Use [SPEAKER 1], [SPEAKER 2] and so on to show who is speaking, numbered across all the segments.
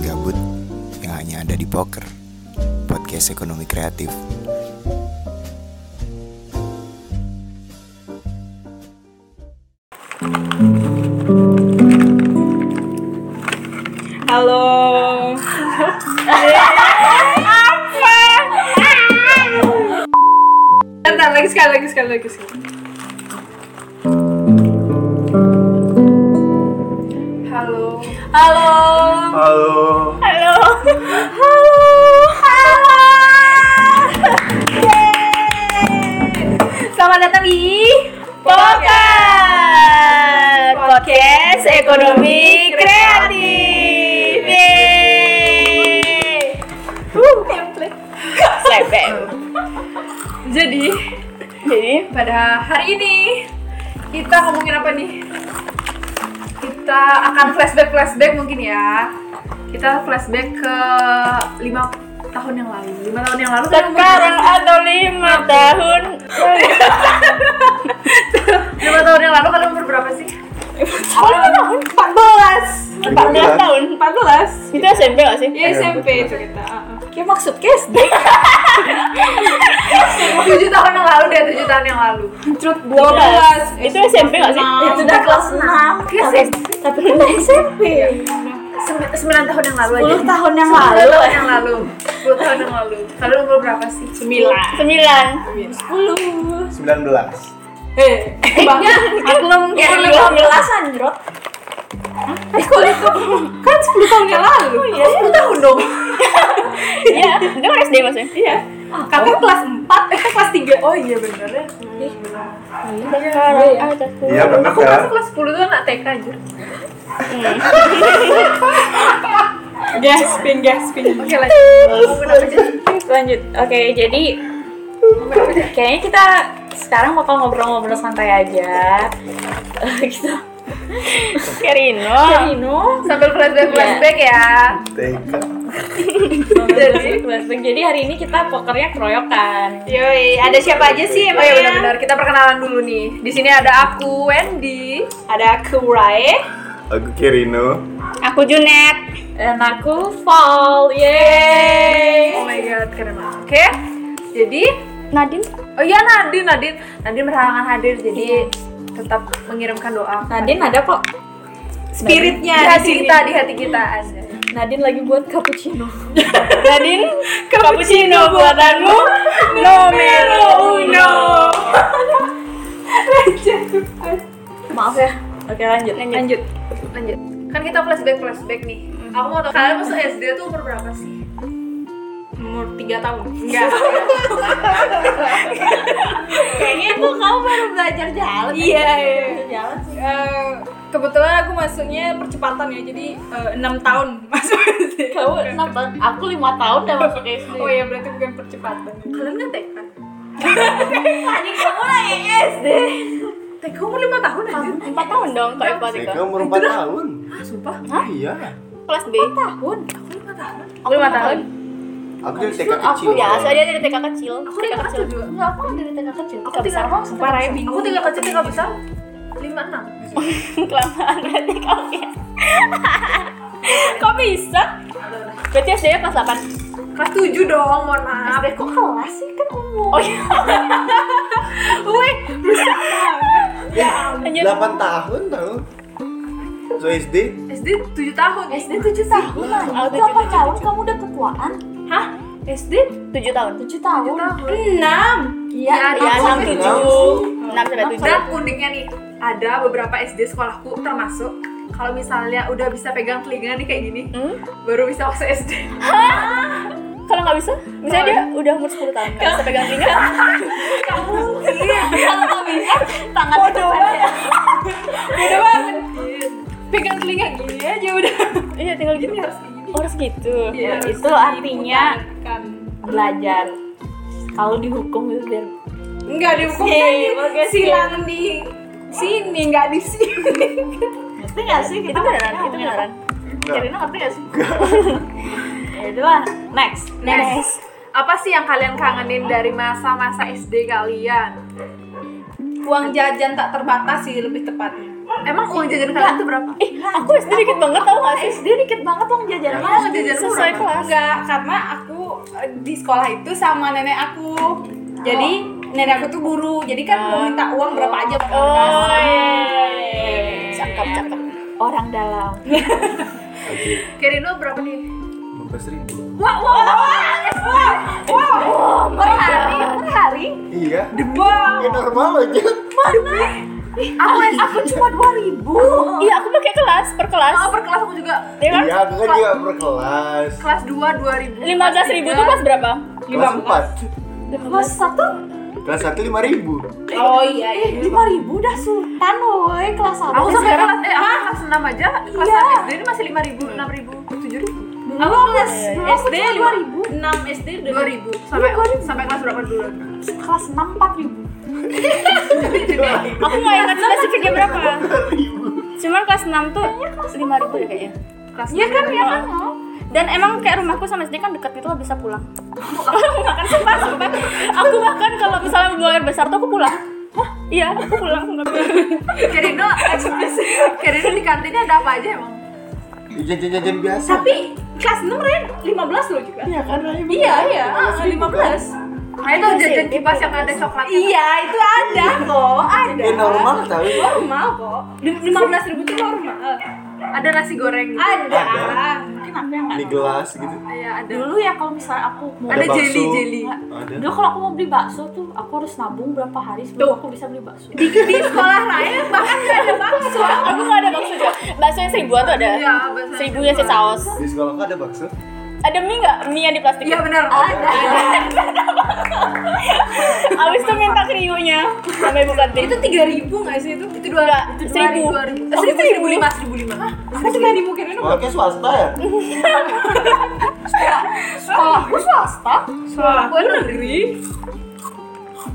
[SPEAKER 1] gabut yang hanya ada di Poker, podcast ekonomi kreatif.
[SPEAKER 2] Halo. Apa? Bentar, lagi sekali, lagi sekali, lagi sekali. Halo. Halo.
[SPEAKER 3] Halo.
[SPEAKER 2] Halo. Halo.
[SPEAKER 4] Selamat datang di Poker Podcast Ekonomi Kreatif. Yeay. Slebeng.
[SPEAKER 2] Jadi,
[SPEAKER 4] Jadi
[SPEAKER 2] pada hari ini kita ngomongin apa nih? Kita akan flashback flashback mungkin ya. Kita flashback ke lima tahun yang lalu. Lima tahun yang lalu kan
[SPEAKER 4] sekarang atau lima tahun
[SPEAKER 2] lima tahun yang lalu kalian umur berapa sih?
[SPEAKER 4] Oh, lima tahun? 14 14
[SPEAKER 3] 14.
[SPEAKER 4] tahun
[SPEAKER 2] 14
[SPEAKER 4] Itu SMP gak sih?
[SPEAKER 2] Ya SMP itu kita
[SPEAKER 4] Kayak maksud guys
[SPEAKER 2] Tujuh tahun yang lalu deh, tujuh tahun yang lalu
[SPEAKER 4] Dua belas Itu SMP gak sih? Eh,
[SPEAKER 2] Itu udah kelas Iya, 6 Kelas
[SPEAKER 4] Tapi udah SMP
[SPEAKER 2] 9 tahun yang lalu aja
[SPEAKER 4] 10 tahun yang
[SPEAKER 2] Sepuluh
[SPEAKER 4] lalu
[SPEAKER 2] tahun yang lalu 10 tahun yang lalu Kalian umur berapa sih?
[SPEAKER 4] 9 9
[SPEAKER 3] 19.
[SPEAKER 2] Eh, maklum
[SPEAKER 4] Ya,
[SPEAKER 2] kayak
[SPEAKER 4] dua belasan, Jrot.
[SPEAKER 2] Kan 10 tahun yang lalu
[SPEAKER 4] Iya, sepuluh tahun dong. Iya, itu kan SD maksudnya. Iya.
[SPEAKER 2] Kakak kelas 4, kita kelas 3 Oh iya bener ya
[SPEAKER 4] Sekarang ada
[SPEAKER 3] Iya benar
[SPEAKER 2] Aku
[SPEAKER 3] kan?
[SPEAKER 2] rasa kelas 10 tuh anak TK aja Hmm.
[SPEAKER 4] gaspin, gaspin.
[SPEAKER 2] Oke lanjut Umur berapa sih?
[SPEAKER 4] Lanjut. Oke, jadi
[SPEAKER 2] Umur berapa sih?
[SPEAKER 4] kayaknya kita sekarang bakal ngobrol-ngobrol santai aja. gitu. Karino. Karino.
[SPEAKER 2] Sambil flashback flashback ya
[SPEAKER 3] TK.
[SPEAKER 2] Jadi-
[SPEAKER 4] Jadi hari ini kita pokernya keroyokan.
[SPEAKER 2] Yoi, ada siapa aja sih
[SPEAKER 4] ya?
[SPEAKER 2] emang? Oh iya benar-benar kita perkenalan dulu nih. Di sini ada aku Wendy, ada aku Rai,
[SPEAKER 3] Aku Kirino.
[SPEAKER 4] Aku Junet. Dan aku Fall.
[SPEAKER 2] Oh
[SPEAKER 4] Yeay.
[SPEAKER 2] my god, keren banget. Oke. Jadi,
[SPEAKER 4] Nadine.
[SPEAKER 2] oh iya Nadine, Nadine. Nadine berhalangan hadir jadi tetap mengirimkan doa.
[SPEAKER 4] Nadine ada kok.
[SPEAKER 2] Spiritnya di hati kita, di hati kita ada.
[SPEAKER 4] Nadine lagi buat cappuccino. Nadine, cappuccino buatanmu nomero uno. Maaf ya. Oke lanjut.
[SPEAKER 2] Lanjut. Lanjut. Kan kita flashback flashback nih.
[SPEAKER 5] Hmm.
[SPEAKER 2] Aku mau tahu kalian masuk SD tuh umur berapa sih?
[SPEAKER 4] Umur 3 tahun.
[SPEAKER 2] Enggak.
[SPEAKER 4] Kayaknya itu kamu baru belajar jalan. Iya. Jalan sih.
[SPEAKER 5] Eh, kebetulan aku masuknya percepatan ya jadi eh, enam tahun masuk SD
[SPEAKER 4] Kamu kenapa? Aku 5 tahun udah masuk SD.
[SPEAKER 5] oh ya berarti bukan percepatan
[SPEAKER 2] kalian kan TK.
[SPEAKER 4] Tadi kamu lagi SD.
[SPEAKER 2] TK umur 5 tahun ya? aja.
[SPEAKER 4] 4 tahun dong kok Eva
[SPEAKER 3] TK umur 4 tahun.
[SPEAKER 2] Ah, sumpah.
[SPEAKER 3] Iya.
[SPEAKER 4] Kelas B. tahun.
[SPEAKER 2] Aku 5 tahun.
[SPEAKER 4] Aku 5 tahun.
[SPEAKER 3] Aku dari TK kecil.
[SPEAKER 2] ya,
[SPEAKER 4] Aku biasa dia dari TK kecil.
[SPEAKER 2] Aku
[SPEAKER 4] TK
[SPEAKER 2] TK
[SPEAKER 4] kecil.
[SPEAKER 2] juga.
[SPEAKER 4] Enggak, aku dari TK kecil.
[SPEAKER 2] Aku
[SPEAKER 4] TK
[SPEAKER 2] tiga
[SPEAKER 4] besar.
[SPEAKER 2] tahun.
[SPEAKER 5] sumpah Raya bingung
[SPEAKER 2] Aku tiga kecil, tiga besar. 5 6.
[SPEAKER 4] kelamaan berarti kau ya kok bisa berarti SD nya kelas 8
[SPEAKER 2] Kelas 7 dong, mohon maaf.
[SPEAKER 4] kok kelas sih kan umur oh iya
[SPEAKER 3] Ya,
[SPEAKER 4] Lanjut.
[SPEAKER 3] 8 tahun tahu. So SD
[SPEAKER 2] SD 7 tahun. SD 7
[SPEAKER 6] tahun
[SPEAKER 4] Oh,
[SPEAKER 6] lah, Nah, itu
[SPEAKER 4] tujuh,
[SPEAKER 6] apa
[SPEAKER 4] tujuh,
[SPEAKER 6] tahun
[SPEAKER 4] tujuh.
[SPEAKER 6] kamu udah ketuaan?
[SPEAKER 2] Hah? SD
[SPEAKER 4] 7 tahun
[SPEAKER 6] 7 tahun?
[SPEAKER 2] tahun.
[SPEAKER 4] enam
[SPEAKER 6] Iya,
[SPEAKER 4] iya
[SPEAKER 6] enam
[SPEAKER 4] enam
[SPEAKER 6] sampai
[SPEAKER 4] tujuh enam sampai tujuh
[SPEAKER 2] Dan uniknya nih, ada beberapa SD sekolahku termasuk kalau misalnya udah bisa pegang telinga nih kayak gini,
[SPEAKER 4] Hmm?
[SPEAKER 2] baru bisa masuk SD.
[SPEAKER 4] kalau nggak bisa misalnya dia udah umur 10 tahun nggak bisa pegang telinga
[SPEAKER 6] Kalau nggak bisa, tangan itu
[SPEAKER 5] pegang telinga gini aja udah
[SPEAKER 4] iya tinggal gitu
[SPEAKER 2] Ini harus gini.
[SPEAKER 4] Oh, harus gitu
[SPEAKER 2] Iya, harus
[SPEAKER 4] itu artinya
[SPEAKER 2] Kan.
[SPEAKER 5] diputarkan.
[SPEAKER 4] belajar kalau dihukum itu biar Iya,
[SPEAKER 5] enggak dihukum
[SPEAKER 4] Yeay,
[SPEAKER 5] kan
[SPEAKER 4] bagus,
[SPEAKER 5] silang di sini enggak di sini
[SPEAKER 4] ngerti nggak sih itu beneran itu beneran
[SPEAKER 3] Enggak.
[SPEAKER 4] ngerti nggak sih ya itulah next
[SPEAKER 2] Next. Apa sih yang kalian kangenin dari masa-masa SD kalian? uang jajan tak terbatas sih lebih tepatnya. Iya. Eh,
[SPEAKER 7] Emang uang jajan kalian itu berapa?
[SPEAKER 4] Ih, aku SD dikit banget tau gak sih?
[SPEAKER 6] SD dikit banget dong jajanan
[SPEAKER 7] Emang
[SPEAKER 6] SD.
[SPEAKER 7] jajan murah?
[SPEAKER 4] Sesuai kelas
[SPEAKER 2] Enggak, karena aku eh, di sekolah itu sama nenek aku. Jadi nenek aku tuh guru, jadi kan mau minta uang berapa aja bakal
[SPEAKER 4] Oh
[SPEAKER 2] dikasih.
[SPEAKER 4] iya
[SPEAKER 2] Cakep, cakep.
[SPEAKER 6] orang dalam
[SPEAKER 7] Kerino berapa nih?
[SPEAKER 3] Bekas ribu.
[SPEAKER 2] Wah, wah, wah, wah, wah, wah,
[SPEAKER 6] per hari per hari
[SPEAKER 3] Iya.
[SPEAKER 2] wah.
[SPEAKER 3] Ya normal aja.
[SPEAKER 6] aku aku cuma dua ribu
[SPEAKER 4] Iya, aku pakai kelas, per kelas
[SPEAKER 7] Oh, per kelas aku juga
[SPEAKER 4] Ya kan?
[SPEAKER 3] Iya, aku kan juga per kelas.
[SPEAKER 7] kelas 2 2000.
[SPEAKER 4] 15
[SPEAKER 2] Iya.
[SPEAKER 4] ribu tuh pas berapa?
[SPEAKER 3] Kelas 4.
[SPEAKER 6] kelas satu
[SPEAKER 3] Kelas 1 5000.
[SPEAKER 2] Oh iya, iya.
[SPEAKER 6] eh lima ribu dah sultan woi kelas satu Iya.
[SPEAKER 7] Aku sampai
[SPEAKER 6] sekarang
[SPEAKER 7] kelas eh aku kelas 6 aja, kelas
[SPEAKER 6] Iya.
[SPEAKER 7] 6 SD ini masih 5000, 6000,
[SPEAKER 2] Aku kelas
[SPEAKER 6] dulu aku
[SPEAKER 2] Eh, SD
[SPEAKER 6] cuma
[SPEAKER 2] lima
[SPEAKER 6] 2000.
[SPEAKER 2] 6 SD
[SPEAKER 7] 7000,
[SPEAKER 2] 2000.
[SPEAKER 7] 2000. Sampai sampai kelas berapa dulu?
[SPEAKER 6] kelas enam empat ribu
[SPEAKER 4] Aku gak ingat spesifiknya berapa Cuman kelas 6 tuh 5 ribu ya kayaknya
[SPEAKER 7] Kelas
[SPEAKER 4] Iya kan, iya kan
[SPEAKER 6] Oh.
[SPEAKER 4] Dan emang kayak rumahku sama SD kan deket gitu lah bisa pulang Aku bahkan sumpah, sumpah Aku bahkan kalau misalnya buang air besar tuh aku pulang Iya, aku pulang
[SPEAKER 7] Kerino Kerino eh, di kantinnya ada apa aja emang?
[SPEAKER 3] Jajan-jajan biasa.
[SPEAKER 2] Tapi kelas 6 Ren 15 loh juga.
[SPEAKER 3] Iya kan, Rai?
[SPEAKER 2] Iya, iya,
[SPEAKER 3] Kelas
[SPEAKER 2] ah,
[SPEAKER 3] ribu, kan?
[SPEAKER 2] 15.
[SPEAKER 7] Nah itu jajan kipas yang ada coklatnya.
[SPEAKER 2] Iya, itu ada kok, ada.
[SPEAKER 3] Ya normal tapi
[SPEAKER 2] Normal kok. 15 ribu tuh normal.
[SPEAKER 7] Ada nasi goreng. gitu.
[SPEAKER 2] Ada.
[SPEAKER 6] mungkin aku yang
[SPEAKER 3] di
[SPEAKER 6] nggak tahu.
[SPEAKER 3] gelas gitu.
[SPEAKER 7] Iya, ada.
[SPEAKER 6] dulu ya kalau misalnya aku mau
[SPEAKER 7] Ada
[SPEAKER 3] bakso.
[SPEAKER 7] jelly, jelly.
[SPEAKER 3] Ada.
[SPEAKER 6] dulu kalau aku mau beli bakso tuh aku harus nabung berapa hari sebelum aku bisa beli bakso
[SPEAKER 2] Di, di sekolah lain bahkan nggak ada bakso.
[SPEAKER 4] Aku gak ada bakso juga Bakso yang seribuan tuh ada
[SPEAKER 7] Iya, bakso yang
[SPEAKER 4] Seribunya sih
[SPEAKER 7] seribuan.
[SPEAKER 4] saus
[SPEAKER 3] Di sekolah kan ada bakso.
[SPEAKER 4] Ada mie gak? Mie yang di plastik
[SPEAKER 7] Iya benar.
[SPEAKER 4] Abis itu minta kriunya Sampai bukan
[SPEAKER 2] Itu 3000 nggak sih itu?
[SPEAKER 7] Itu dua
[SPEAKER 4] Enggak, seribu.
[SPEAKER 7] ribu.
[SPEAKER 4] Oh,
[SPEAKER 7] Seribu
[SPEAKER 4] seribu.
[SPEAKER 7] seribu lima seribu lima.
[SPEAKER 2] Aku 3000 kira
[SPEAKER 3] Wah, kayak swasta ya?
[SPEAKER 6] sekolah aku swasta
[SPEAKER 2] Sekolah aku negeri.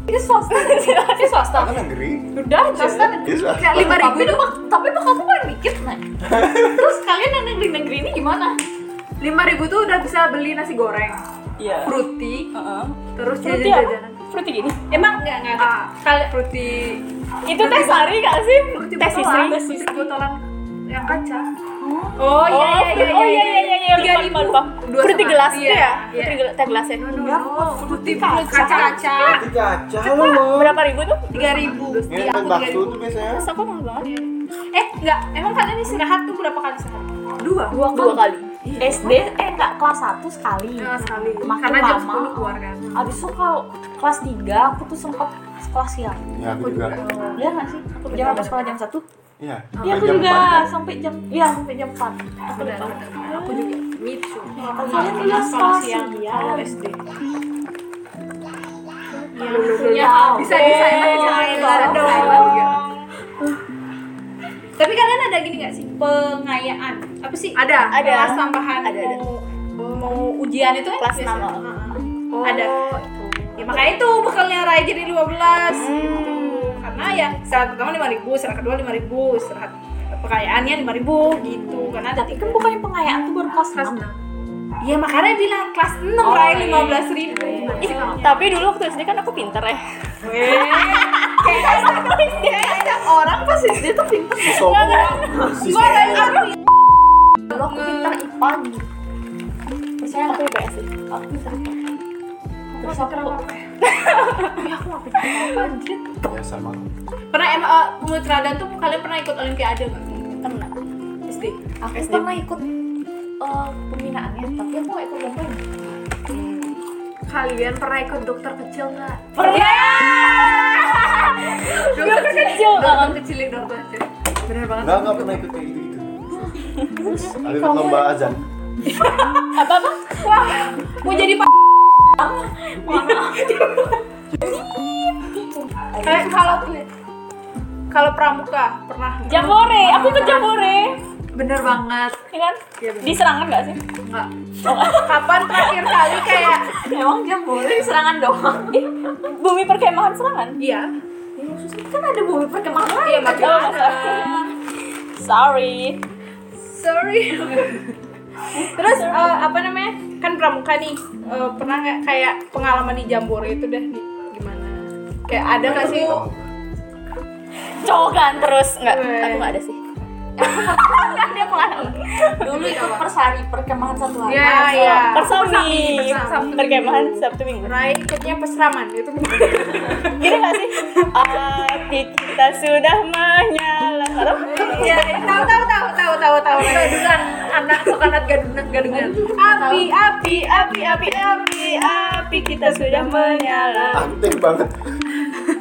[SPEAKER 6] ini swasta ini swasta
[SPEAKER 3] Kan negeri.
[SPEAKER 2] Udah, just
[SPEAKER 3] Dia swasta.
[SPEAKER 7] Kayak lima ribu
[SPEAKER 6] tapi itu tapi itu kamu paling dikit nih terus kalian yang negeri negeri ini gimana
[SPEAKER 7] lima ribu tuh udah bisa beli nasi goreng,
[SPEAKER 4] Iya
[SPEAKER 7] fruity,
[SPEAKER 4] Heeh.
[SPEAKER 7] terus
[SPEAKER 4] Fruity apa?
[SPEAKER 7] jajan-jajanan.
[SPEAKER 4] Fruity gini
[SPEAKER 2] Emang nggak nggak.
[SPEAKER 7] Ah,
[SPEAKER 2] Kalau
[SPEAKER 7] fruity
[SPEAKER 4] Itu teh sari gak sih?
[SPEAKER 7] fruity
[SPEAKER 4] Teh
[SPEAKER 7] botolan, fruity
[SPEAKER 4] sisri
[SPEAKER 7] botolan yang kaca.
[SPEAKER 2] Oh iya iya iya.
[SPEAKER 4] Oh iya iya iya iya
[SPEAKER 2] Tiga
[SPEAKER 4] lupa
[SPEAKER 2] ribu.
[SPEAKER 4] lupa
[SPEAKER 7] Dua
[SPEAKER 4] lupa Fruity
[SPEAKER 7] sama-
[SPEAKER 4] gelas itu
[SPEAKER 7] iya,
[SPEAKER 4] ya?
[SPEAKER 7] iya.
[SPEAKER 4] Fruity gelas, teh gelasnya ya.
[SPEAKER 7] No, no, no. Fruity kaca.
[SPEAKER 2] Kaca-kaca.
[SPEAKER 3] Tapi Caca loh.
[SPEAKER 4] Berapa ribu tuh?
[SPEAKER 7] Tiga ribu.
[SPEAKER 3] Ini kan bakso tuh biasanya.
[SPEAKER 4] Terus aku mahal banget
[SPEAKER 2] Eh nggak. Emang kalian istirahat tuh berapa kali sehari?
[SPEAKER 7] Dua.
[SPEAKER 6] dua
[SPEAKER 4] Dua
[SPEAKER 6] kali
[SPEAKER 4] kali
[SPEAKER 6] SD eh enggak kelas satu sekali
[SPEAKER 7] Dua sekali.
[SPEAKER 6] Makin
[SPEAKER 7] Karena jam
[SPEAKER 6] lama.
[SPEAKER 7] sepuluh keluar kan.
[SPEAKER 6] abis itu kalau kelas 3 aku tuh sempet sekolah siang
[SPEAKER 3] Ya, aku juga.
[SPEAKER 6] Iya nggak sih? Jam apa sekolah jam 1?
[SPEAKER 3] Iya.
[SPEAKER 6] Iya aku
[SPEAKER 3] jam
[SPEAKER 6] juga
[SPEAKER 3] empat.
[SPEAKER 6] sampai jam iya sampai jam 4.
[SPEAKER 7] Aku udah. Aku juga. Me too.
[SPEAKER 6] Kalian juga sekolah siang.
[SPEAKER 2] SD. Ya
[SPEAKER 6] Iya.
[SPEAKER 7] Bisa di silent, bisa di
[SPEAKER 2] Iya.
[SPEAKER 4] Iya,
[SPEAKER 7] silent, di silent. ya.
[SPEAKER 2] Tapi kalian ada gini nggak sih pengayaan? Apa sih?
[SPEAKER 7] Ada.
[SPEAKER 4] Ada.
[SPEAKER 2] Kelas tambahan
[SPEAKER 4] Ada, ada.
[SPEAKER 2] mau mau ujian itu kan
[SPEAKER 4] Kelas
[SPEAKER 2] biasanya.
[SPEAKER 4] enam,
[SPEAKER 2] Heeh.
[SPEAKER 7] Oh,
[SPEAKER 2] Ada. Ya makanya itu bekalnya Rai jadi 12
[SPEAKER 7] Hmm.
[SPEAKER 2] Karena ya istirahat pertama 5000, istirahat kedua 5000, istirahat pekayaannya 5000 gitu Karena ada
[SPEAKER 6] Tapi kan bukannya pengayaan tuh baru kelas
[SPEAKER 7] Kelas
[SPEAKER 6] 6.
[SPEAKER 7] enam.
[SPEAKER 2] Ya makanya Rai bilang kelas 6
[SPEAKER 6] Oh,
[SPEAKER 2] Rai
[SPEAKER 6] iya.
[SPEAKER 2] 15 ribu
[SPEAKER 4] Ih,
[SPEAKER 2] iya.
[SPEAKER 4] tapi dulu waktu SD kan aku pinter ya
[SPEAKER 2] Eh, Kayaknya orang pas
[SPEAKER 6] Dia tuh pinter
[SPEAKER 3] Si sombong. Si sombong.
[SPEAKER 6] dulu aku pinter IPA gitu. Percaya
[SPEAKER 4] Aku
[SPEAKER 6] nggak?
[SPEAKER 4] IPS sih
[SPEAKER 6] Aku pinter IPA. Terus aku
[SPEAKER 3] Ya sama.
[SPEAKER 2] Pernah emang eh, menurut Radan tuh kalian pernah ikut olimpiade nggak?
[SPEAKER 4] Pernah
[SPEAKER 2] SD
[SPEAKER 6] aku pernah ikut
[SPEAKER 4] Oh,
[SPEAKER 6] eh, pembinaannya tapi aku nggak ikut lomba
[SPEAKER 7] Kalian pernah ikut dokter kecil nggak?
[SPEAKER 4] Iya. Dokter kecil,
[SPEAKER 7] Dokter
[SPEAKER 4] heeh.
[SPEAKER 7] kecil, dokter kecil. Bener banget.
[SPEAKER 3] Enggak, enggak pernah ikut kayak gitu. gitu-gitu. Aku ikut lomba azan.
[SPEAKER 4] Apa-apa?
[SPEAKER 2] Mau jadi pak Eh kalau kalau pramuka pernah nggak?
[SPEAKER 4] Jambore, aku ke Jambore
[SPEAKER 7] Bener banget.
[SPEAKER 4] Ya kan? Di serangan gak sih?
[SPEAKER 7] Enggak.
[SPEAKER 2] Kapan terakhir kali kayak
[SPEAKER 6] emang jam boleh serangan doang
[SPEAKER 4] Ih, bumi perkemahan serangan?
[SPEAKER 2] Iya
[SPEAKER 6] kan ada bumi perkemahan
[SPEAKER 2] Iya macam
[SPEAKER 4] Oh,
[SPEAKER 2] mana?
[SPEAKER 4] Sorry
[SPEAKER 2] Sorry Terus eh, apa namanya? Kan pramuka nih eh, Pernah nggak kayak pengalaman di Jambore itu deh nih, Gimana? Kayak ada nggak sih
[SPEAKER 4] cowokan terus nggak aku nggak ada sih dia pengalaman
[SPEAKER 6] Dulu ikut persari perkemahan satu hari.
[SPEAKER 7] Iya,
[SPEAKER 2] Ah,
[SPEAKER 7] iya.
[SPEAKER 2] iya.
[SPEAKER 4] persami
[SPEAKER 2] persami.
[SPEAKER 4] perkemahan sabtu minggu
[SPEAKER 2] Rai ikutnya peseraman itu.
[SPEAKER 4] Gini gak sih? Api kita sudah menyala Gak tau?
[SPEAKER 2] Iya, tahu tahu tahu tahu tahu tahu. kan
[SPEAKER 7] Gadunan, anak sok anak gadunan gadunan.
[SPEAKER 2] Api, api, api, api, api, api kita sudah menyala.
[SPEAKER 3] Aktif banget.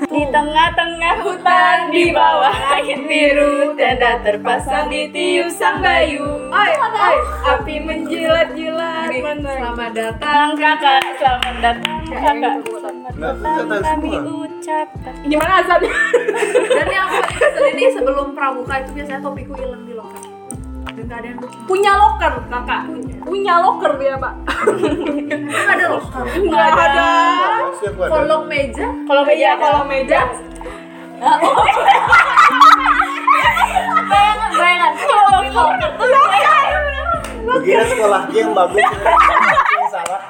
[SPEAKER 4] Di tengah-tengah hutan di bawah angin biru Tenda terpasang di tiup sang bayu
[SPEAKER 2] Oi, oi, api menjilat-jilat mana?
[SPEAKER 7] Selamat datang.
[SPEAKER 4] Datang kakak, selamat datang kakak Selamat
[SPEAKER 3] Nah,
[SPEAKER 4] datang
[SPEAKER 3] ternyata
[SPEAKER 4] kami
[SPEAKER 3] semua.
[SPEAKER 4] ucapkan
[SPEAKER 2] Gimana azabnya?
[SPEAKER 7] Dan yang aku paling keselin nih sebelum pramuka itu biasanya topikku hilang di loker. Dan gak ada yang
[SPEAKER 2] Punya loker kakak. Punya loker dia pak.
[SPEAKER 7] Kan ada loker.
[SPEAKER 2] Enggak ada.
[SPEAKER 3] Pasti aku ada.
[SPEAKER 7] Kolong meja.
[SPEAKER 4] Kalau meja
[SPEAKER 2] Iya,
[SPEAKER 4] kalau
[SPEAKER 2] kalau meja
[SPEAKER 6] Bayangan, bayangan. Kalau di loker tuh
[SPEAKER 3] Kira sekolahnya yang bagus. yang salah.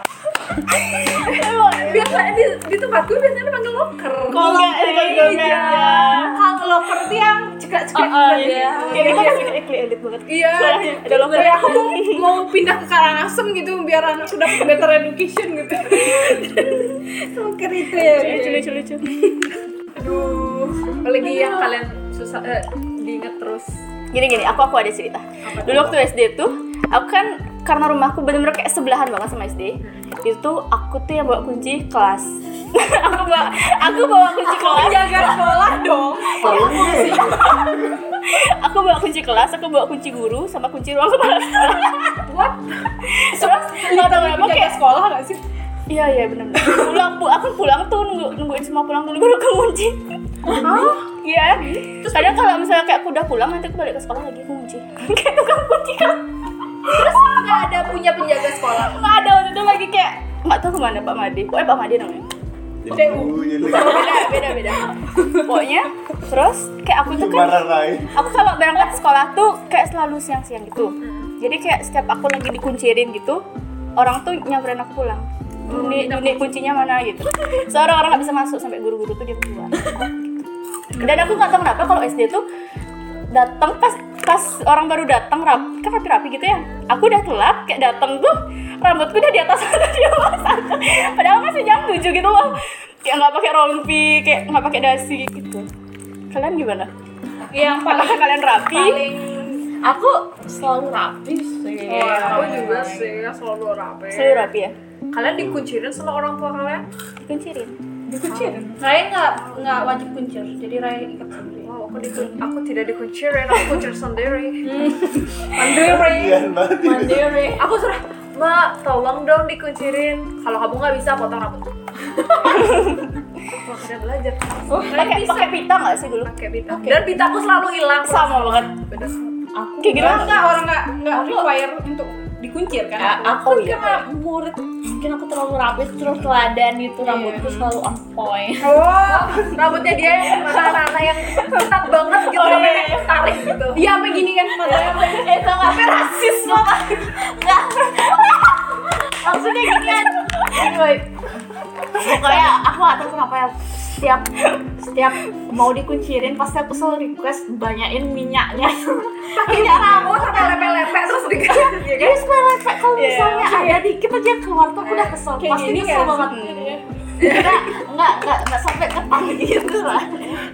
[SPEAKER 7] Biasanya di, di tempatku biasanya dipanggil loker.
[SPEAKER 4] Kolong
[SPEAKER 2] Iya.
[SPEAKER 4] meja
[SPEAKER 2] hang loker tuh yang
[SPEAKER 4] Oh
[SPEAKER 2] cekak-cekak.
[SPEAKER 4] oh
[SPEAKER 2] gitu.
[SPEAKER 4] iya Ini kan masih ekli edit banget
[SPEAKER 2] Iya.
[SPEAKER 4] Suaranya ada loker
[SPEAKER 2] Kayak aku mau, mau pindah ke Karangasem gitu biar anakku dapat better education gitu. Loker itu ya.
[SPEAKER 4] Lucu lucu lucu
[SPEAKER 7] Aduh. Apalagi yang kalian susah eh, diingat terus.
[SPEAKER 4] gini gini aku aku ada cerita dulu waktu SD tuh aku kan karena rumahku bener-bener kayak sebelahan banget sama SD itu aku tuh yang bawa kunci kelas aku bawa aku bawa kunci kelas
[SPEAKER 2] Jaga sekolah dong.
[SPEAKER 4] aku bawa kunci kelas aku bawa kunci guru sama kunci ruang kepala sekolah terus nggak tahu kenapa
[SPEAKER 2] Jaga
[SPEAKER 4] kayak
[SPEAKER 2] sekolah gak sih?
[SPEAKER 4] iya iya bener pulang pu- aku pulang tuh nunggu nungguin semua pulang tuh nunggu kunci Iya, kadang kalau misalnya kayak aku udah pulang nanti aku balik ke sekolah lagi aku kunci kayak tukang kunci kan
[SPEAKER 7] Terus nggak ada punya penjaga sekolah.
[SPEAKER 4] nggak ada waktu itu lagi kayak nggak tahu kemana Pak Made pokoknya Pak Made namanya
[SPEAKER 3] Jadi dulu jadi
[SPEAKER 4] beda beda beda pokoknya terus kayak aku tuh kan
[SPEAKER 3] marah Rai.
[SPEAKER 4] aku kalau berangkat sekolah tuh kayak selalu siang-siang gitu jadi kayak setiap aku lagi dikuncirin gitu orang tuh nyamperin aku pulang
[SPEAKER 2] Oh,
[SPEAKER 4] ini ini kuncinya mana gitu seorang orang nggak bisa masuk sampai guru-guru tuh dia keluar Gitu. dan aku nggak tahu kenapa kalau SD tuh datang pas pas orang baru datang rap kan rapi rapi gitu ya aku udah telat kayak datang tuh rambutku udah di atas sana di bawah sana padahal masih jam 7 gitu loh kayak nggak pakai rompi kayak nggak pakai dasi gitu kalian gimana
[SPEAKER 2] Yang paling
[SPEAKER 4] apakah kalian rapi
[SPEAKER 6] aku selalu rapi sih.
[SPEAKER 2] Iya.
[SPEAKER 7] Wah, Iya, aku juga sih selalu rapi.
[SPEAKER 4] selalu rapi ya
[SPEAKER 7] Kalian dikuncirin sama orang tua kalian? Ah.
[SPEAKER 4] dikuncirin
[SPEAKER 2] Raya nggak nggak wajib kuncir, jadi Raya ikat sendiri.
[SPEAKER 7] Wow, aku dikun aku tidak dikuncirin, aku kuncir sendiri.
[SPEAKER 3] Iya banget.
[SPEAKER 6] Mandiri.
[SPEAKER 7] Aku suruh, "Ma, tolong dong dikuncirin. Kalau kamu nggak bisa potong rambut." Wah, kalian belajar.
[SPEAKER 2] Oh,
[SPEAKER 4] pakai pakai pita nggak sih dulu
[SPEAKER 7] Pakai pita. Dan pitaku selalu hilang.
[SPEAKER 4] sama banget
[SPEAKER 7] Bener.
[SPEAKER 6] Aku
[SPEAKER 4] kayak gitu
[SPEAKER 2] Orang nggak orang nggak nggak require untuk dikuncir kan?
[SPEAKER 6] Ya,
[SPEAKER 4] Oh,
[SPEAKER 6] aku
[SPEAKER 4] iya.
[SPEAKER 6] karena murid mungkin aku terlalu rapi, terlalu teladan gitu rambutku selalu on point.
[SPEAKER 7] Oh, rambutnya dia yang rata-rata yang ketat banget gitu,
[SPEAKER 4] Oh, iya,
[SPEAKER 7] sampai tarik gitu.
[SPEAKER 2] Iya, apa gini kan?
[SPEAKER 6] eh tau gak? rasis banget Enggak Maksudnya gini kan Gini, woy. Pokoknya aku gak tau kenapa ya Setiap Setiap mau dikuncirin Pasti aku selalu request Banyain minyaknya Minyak
[SPEAKER 7] Aku
[SPEAKER 6] rambut iya
[SPEAKER 7] sampai lepek-lepek terus dikuncirin.
[SPEAKER 6] Jadi supaya lepek Kalau
[SPEAKER 4] Iya.
[SPEAKER 6] misalnya ada dikit aja yang keluar tuh Aku udah kesel
[SPEAKER 2] Kayak
[SPEAKER 6] Pasti
[SPEAKER 2] gini
[SPEAKER 6] kesel
[SPEAKER 2] kan?
[SPEAKER 6] banget Enggak, enggak, enggak, enggak sampai ketat gitu lah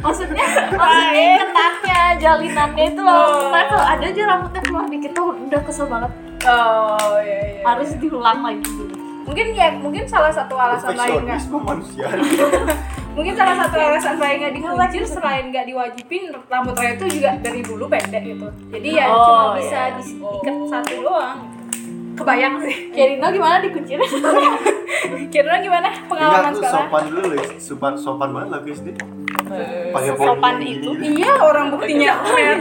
[SPEAKER 6] Maksudnya, maksudnya
[SPEAKER 4] Lain.
[SPEAKER 6] ketatnya, jalinannya itu loh Karena kalau ada aja rambutnya keluar dikit tuh udah kesel banget
[SPEAKER 2] Oh iya iya.
[SPEAKER 6] harus diulang lagi gitu.
[SPEAKER 2] Mungkin ya mungkin salah satu alasan Raya nggak
[SPEAKER 3] Perfeksionis kemanusiaan.
[SPEAKER 2] mungkin salah satu alasan Raya nggak dikuncir selain nggak diwajibin rambut Raya itu juga dari dulu pendek gitu. Jadi ya
[SPEAKER 4] Oh,
[SPEAKER 2] cuma
[SPEAKER 4] iya.
[SPEAKER 2] bisa di- diikat satu doang.
[SPEAKER 7] Kebayang sih.
[SPEAKER 6] Kerino gimana dikuncirin?
[SPEAKER 2] Kira gimana pengalaman
[SPEAKER 3] Enggak tuh
[SPEAKER 2] sekolah?
[SPEAKER 3] sopan dulu, Lis. sopan sopan banget lagu SD. Pakai
[SPEAKER 4] Sopan
[SPEAKER 3] poni gini.
[SPEAKER 4] itu.
[SPEAKER 2] Iya orang buktinya keren.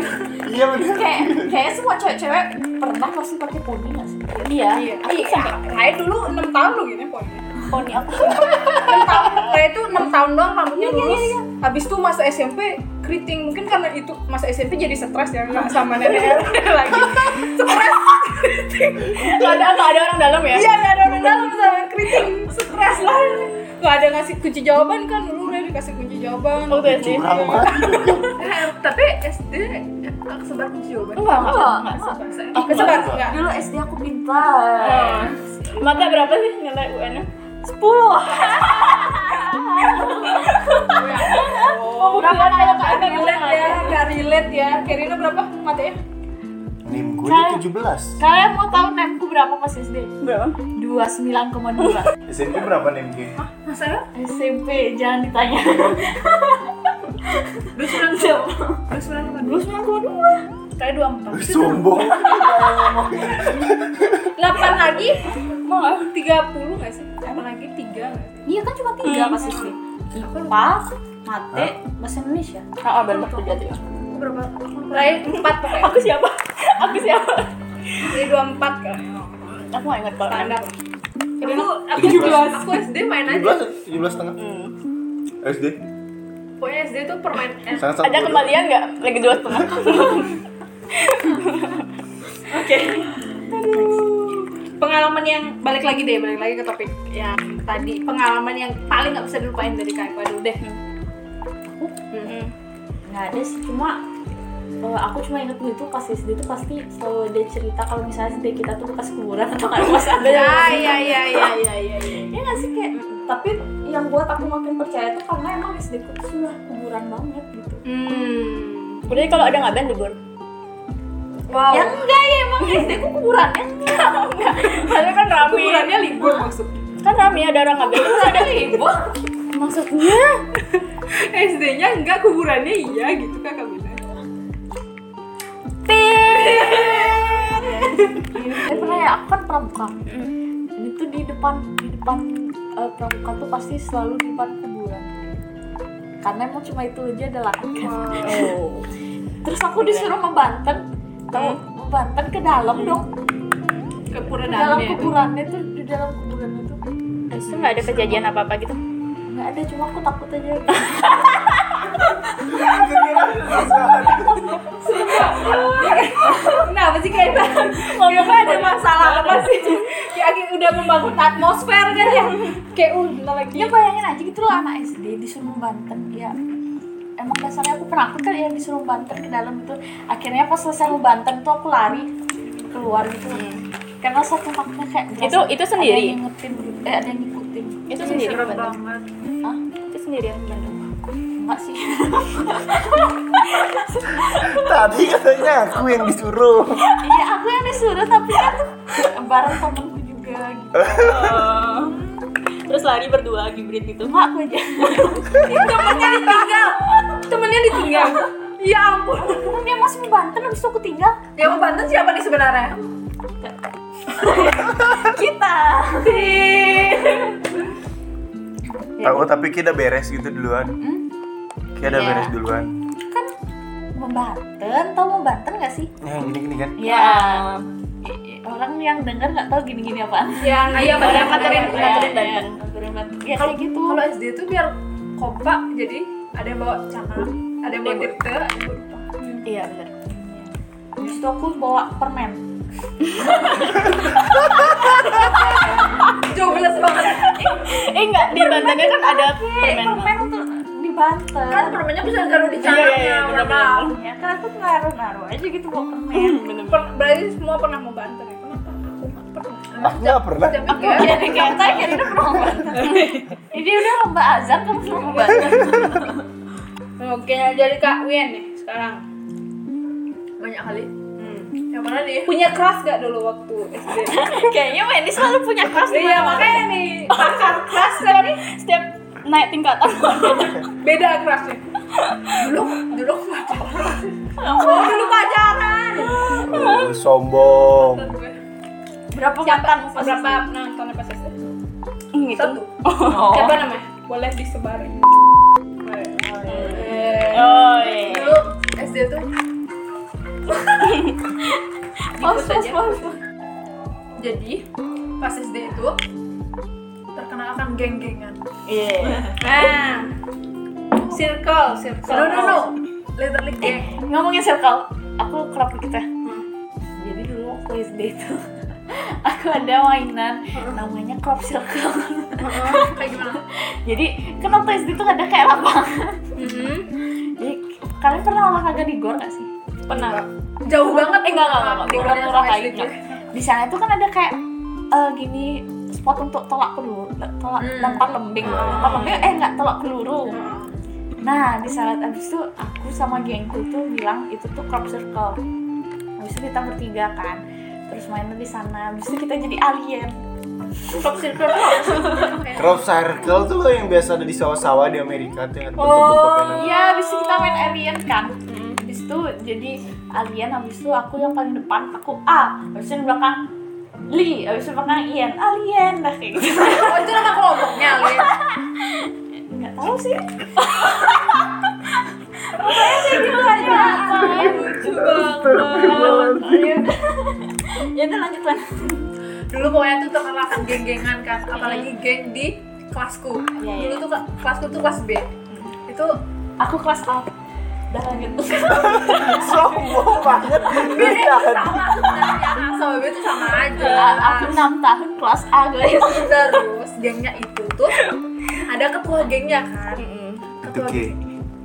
[SPEAKER 3] Iya benar.
[SPEAKER 6] Kayak kayaknya semua cewek-cewek pernah pasti pakai poni nggak sih?
[SPEAKER 4] iya Oh, iya. aku
[SPEAKER 2] Iya,
[SPEAKER 4] sampai
[SPEAKER 2] Raya dulu 6 tahun loh gini pokoknya.
[SPEAKER 4] poni aku
[SPEAKER 2] enam tahun saya itu enam tahun doang
[SPEAKER 4] Iya,
[SPEAKER 2] rambutnya lurus habis itu masa SMP keriting mungkin karena itu masa SMP jadi stres ya
[SPEAKER 4] Iya.
[SPEAKER 2] nggak sama nenek nenek lagi stres
[SPEAKER 4] nggak ada nggak ada orang dalam ya
[SPEAKER 2] iya nggak ada orang dalam sama keriting stres lah
[SPEAKER 4] Oh,
[SPEAKER 2] nggak ada ngasih kunci jawaban kan dulu udah dikasih kunci jawaban
[SPEAKER 4] waktu SD
[SPEAKER 3] Kurang banget.
[SPEAKER 7] Emang Tapi SD nggak kesebar kunci jawaban.
[SPEAKER 4] Enggak, enggak,
[SPEAKER 6] Enggak,
[SPEAKER 4] enggak.
[SPEAKER 6] enggak.
[SPEAKER 2] Oh, kesebar enggak?
[SPEAKER 6] Dulu SD aku pintar.
[SPEAKER 4] Mata berapa sih nilai UN-nya?
[SPEAKER 6] Sepuluh. Oh,
[SPEAKER 2] Berapa nanya kak Ega relate ya? Gak relate ya. Karina berapa matanya?
[SPEAKER 3] Nim gue ini 17
[SPEAKER 6] Kalian mau tahu nemku berapa pas SD?
[SPEAKER 4] Berapa?
[SPEAKER 6] Dua sembilan koma dua.
[SPEAKER 3] SMP berapa Nim gue?
[SPEAKER 7] Masa
[SPEAKER 6] SMP jangan ditanya.
[SPEAKER 7] dua sembilan jam, dua sembilan
[SPEAKER 4] Dulu sembilan koma dua. Kali dua empat.
[SPEAKER 3] Lu sombong
[SPEAKER 2] Delapan lagi?
[SPEAKER 4] Mau nggak?
[SPEAKER 2] Tiga puluh nggak sih? Delapan lagi tiga nggak sih?
[SPEAKER 6] Iya kan cuma tiga
[SPEAKER 4] Hmm.
[SPEAKER 6] pas SD. IPA, mate, bahasa Indonesia.
[SPEAKER 4] Ah, ah, benar tiga tiga.
[SPEAKER 7] aku berapa? Aku lupa.
[SPEAKER 2] Terakhir empat pokoknya.
[SPEAKER 4] Aku siapa? Aku siapa?
[SPEAKER 2] Jadi dua empat kan?
[SPEAKER 4] Aku nggak ingat kalau
[SPEAKER 2] Standar.
[SPEAKER 4] enam.
[SPEAKER 2] Aku aku
[SPEAKER 3] 17
[SPEAKER 7] Aku SD main aja.
[SPEAKER 3] 17 17 setengah
[SPEAKER 4] Hmm.
[SPEAKER 3] SD
[SPEAKER 7] Pokoknya SD tuh permain. eh,
[SPEAKER 3] Sangat sangat
[SPEAKER 4] Ada kembalian nggak? Lagi dua setengah.
[SPEAKER 2] pengalaman yang balik lagi deh balik lagi ke topik yang tadi pengalaman yang paling nggak bisa dilupain dari kak Eko dulu deh
[SPEAKER 4] Hmm.
[SPEAKER 6] Nggak ada sih, cuma eh, aku cuma inget dulu tuh pas SD tuh pasti selalu ada cerita kalau misalnya SD kita tuh bekas kuburan atau kayak pas ada yang
[SPEAKER 2] ya ya ya ya ya ya
[SPEAKER 6] Iya nggak sih kayak tapi yang buat aku makin percaya tuh karena emang SD ku tuh sudah kuburan banget gitu.
[SPEAKER 2] hmm
[SPEAKER 4] Berarti kalau ada nggak band libur?
[SPEAKER 2] wow
[SPEAKER 6] Ya enggak ya emang SD ku kuburan ya
[SPEAKER 4] Karena kan rame.
[SPEAKER 2] kuburannya libur maksudnya
[SPEAKER 4] Kan rame ada orang nggak band. Terus ada libur. Maksudnya?
[SPEAKER 2] SD-nya enggak kuburannya iya gitu kakak bilang
[SPEAKER 6] Eh, pernah ya aku kan pramuka. Itu di depan di depan eh, pramuka tuh pasti selalu di depan kuburan. Karena emang cuma itu aja ada lahan kan.
[SPEAKER 4] Oh.
[SPEAKER 6] Terus aku disuruh membanten, tahu membanten ke dalam dong.
[SPEAKER 2] Hmm? ke
[SPEAKER 6] Ke dalam
[SPEAKER 2] kuburannya itu
[SPEAKER 6] kuburannya tuh di dalam kuburan itu
[SPEAKER 4] Terus tuh nggak ada kejadian apa apa gitu?
[SPEAKER 6] nggak ada cuma aku takut aja.
[SPEAKER 2] kenapa sih kayak ngomongnya ada masalah apa sih kayak udah membangun atmosfer kan ya kayak uh bentar lagi
[SPEAKER 6] Ya bayangin aja gitu loh anak SD disuruh banten ya emang dasarnya aku penakut kali ya disuruh banten ke dalam itu akhirnya pas selesai banten tuh aku lari keluar gitu
[SPEAKER 2] Hmm.
[SPEAKER 6] karena satu takutnya kayak berasa
[SPEAKER 4] Itu- itu sendiri?
[SPEAKER 6] ada yang ngingetin gitu. eh ada yang ngikutin
[SPEAKER 4] Itu
[SPEAKER 7] Ih,
[SPEAKER 4] sendiri.
[SPEAKER 7] serem
[SPEAKER 4] Bandung.
[SPEAKER 7] banget.
[SPEAKER 6] ah
[SPEAKER 4] Itu sendirian Bandung.
[SPEAKER 6] enggak sih
[SPEAKER 1] Tadi katanya aku yang disuruh.
[SPEAKER 6] iya aku yang disuruh tapi kan bareng temenku juga gitu
[SPEAKER 4] Terus lari berdua gibrit gitu.
[SPEAKER 6] cuma aku aja
[SPEAKER 2] temennya ditinggal temennya ditinggal ya ampun
[SPEAKER 6] kan dia masih membanten habis itu aku tinggal
[SPEAKER 2] yang membantu siapa nih sebenarnya
[SPEAKER 6] kita
[SPEAKER 1] Aku tapi kita beres gitu duluan.
[SPEAKER 6] hmm?
[SPEAKER 1] Kita udah
[SPEAKER 4] Iya.
[SPEAKER 1] beres duluan.
[SPEAKER 6] kan membanten tau membanten gak sih
[SPEAKER 1] Nah, gini gini kan.
[SPEAKER 6] Iya. Orang yang denger nggak tahu gini-gini apaan.
[SPEAKER 2] yang
[SPEAKER 7] Ayo,
[SPEAKER 2] yang
[SPEAKER 7] Mbak.
[SPEAKER 2] materi
[SPEAKER 7] Iya,
[SPEAKER 4] Ngaturin Bandung.
[SPEAKER 6] Ya kayak gitu.
[SPEAKER 7] Kalau SD tuh biar kompak, jadi ada yang bawa cangkang, ada yang bawa
[SPEAKER 2] Iya,
[SPEAKER 7] tirta, ada yang bawa dupa.
[SPEAKER 4] Iya benar.
[SPEAKER 6] Habis itu aku bawa permen.
[SPEAKER 7] Jauh belas banget.
[SPEAKER 4] Eh enggak di Bantennya kan ada permen.
[SPEAKER 6] Permen tuh di Banten.
[SPEAKER 7] Kan permennya bisa taruh di cangkang.
[SPEAKER 4] Iya, iya, iya,
[SPEAKER 7] mohon
[SPEAKER 4] benar-benar.
[SPEAKER 7] maaf.
[SPEAKER 6] Ya, kan aku ngaruh-ngaruh aja gitu bawa permen.
[SPEAKER 2] Per- berarti semua pernah mau bantu ya? Kenapa? Aku
[SPEAKER 1] Aku nggak
[SPEAKER 2] nggak pernah.
[SPEAKER 1] pernah.
[SPEAKER 7] Tapi kayak-
[SPEAKER 6] Jadi kayak tanya ini pernah mau Banten. Ini udah lomba azan kamu pernah mau Banten.
[SPEAKER 2] Oke, jadi Kak Wien nih sekarang.
[SPEAKER 7] banyak kali.
[SPEAKER 2] Hmm.
[SPEAKER 7] Yang mana nih?
[SPEAKER 2] Punya kelas gak dulu waktu SD?
[SPEAKER 4] Kayaknya Wendy selalu punya kelas di
[SPEAKER 2] iya,
[SPEAKER 4] mana-mana.
[SPEAKER 2] makanya nih pakar kelas
[SPEAKER 4] setiap, setiap naik tingkatan.
[SPEAKER 2] kan beda kelasnya.
[SPEAKER 7] Dulu, dulu aku pacaran.
[SPEAKER 2] Oh, dulu pacaran.
[SPEAKER 3] Oh,
[SPEAKER 1] Eh, sombong.
[SPEAKER 4] Berapa
[SPEAKER 2] Siapa
[SPEAKER 4] mantan pas
[SPEAKER 2] berapa
[SPEAKER 4] SD?
[SPEAKER 2] penonton pas SD?
[SPEAKER 4] Hmm, gitu.
[SPEAKER 7] Satu.
[SPEAKER 4] Oh.
[SPEAKER 2] Siapa namanya? Boleh disebarin. Eh,
[SPEAKER 4] Oh, iya.
[SPEAKER 7] Dulu SD tuh
[SPEAKER 2] Pause, pause, pause.
[SPEAKER 7] jadi pas SD itu terkenalkan geng-gengan.
[SPEAKER 4] Iya.
[SPEAKER 2] Nah, circle, circle.
[SPEAKER 7] No no no, literally geng.
[SPEAKER 4] Ngomongin circle, aku kerap kita.
[SPEAKER 6] Hmm. Jadi dulu waktu SD itu aku ada mainan namanya crop circle.
[SPEAKER 2] Eh, oh.
[SPEAKER 7] Kayak gimana?
[SPEAKER 6] Jadi kan waktu SD tuh ada kayak lapangan.
[SPEAKER 2] Mhm.
[SPEAKER 6] Jadi Kalian pernah olahraga di gor gak sih?
[SPEAKER 4] Pernah.
[SPEAKER 2] Jauh banget.
[SPEAKER 6] Eh enggak enggak enggak, enggak. di gor
[SPEAKER 2] Goreng
[SPEAKER 6] murah
[SPEAKER 2] sama es
[SPEAKER 6] kayak
[SPEAKER 2] lidi.
[SPEAKER 6] Di sana itu kan ada kayak eh, gini spot untuk tolak peluru, tolak
[SPEAKER 2] Hmm.
[SPEAKER 6] lempar lembing, lempar lembing eh enggak tolak peluru.
[SPEAKER 2] Ah.
[SPEAKER 6] Nah, di saat abis itu aku sama gengku tuh bilang itu tuh crop circle. Abis itu kita bertiga kan, terus mainnya di sana. Abis itu kita jadi alien.
[SPEAKER 8] Crop circle tuh apa sih?
[SPEAKER 3] Crop circle tuh loh yang biasa ada di sawah-sawah di Amerika tuh yang bentuk-bentuk
[SPEAKER 6] Iya, abis itu kita main alien kan. Abis itu jadi alien, abis itu aku yang paling depan, aku A. Abis itu di belakang Li, abis itu di belakang Ian, alien dah kayak gitu.
[SPEAKER 2] Oh itu nama kelompoknya, Le.
[SPEAKER 6] Nggak tahu sih. Pokoknya kayak gitu aja. Soalnya lucu banget. Ya udah lanjut lanjut.
[SPEAKER 2] Dulu pokoknya tuh terkenal geng-gengan kan, apalagi geng di kelasku.
[SPEAKER 6] Hmm. Iya, Hmm. iya.
[SPEAKER 2] Dulu tuh ke- kelasku tuh kelas B. Itu
[SPEAKER 6] Aku kelas A. Udah lanjut.
[SPEAKER 3] Sombong banget
[SPEAKER 2] sama sebenarnya A sama B tuh sama aja.
[SPEAKER 6] Iya, Aku 6 tahun kelas A guys.
[SPEAKER 2] Terus gengnya itu tuh ada ketua gengnya kan.
[SPEAKER 6] Hmm,
[SPEAKER 3] Itu
[SPEAKER 2] Ketua
[SPEAKER 3] G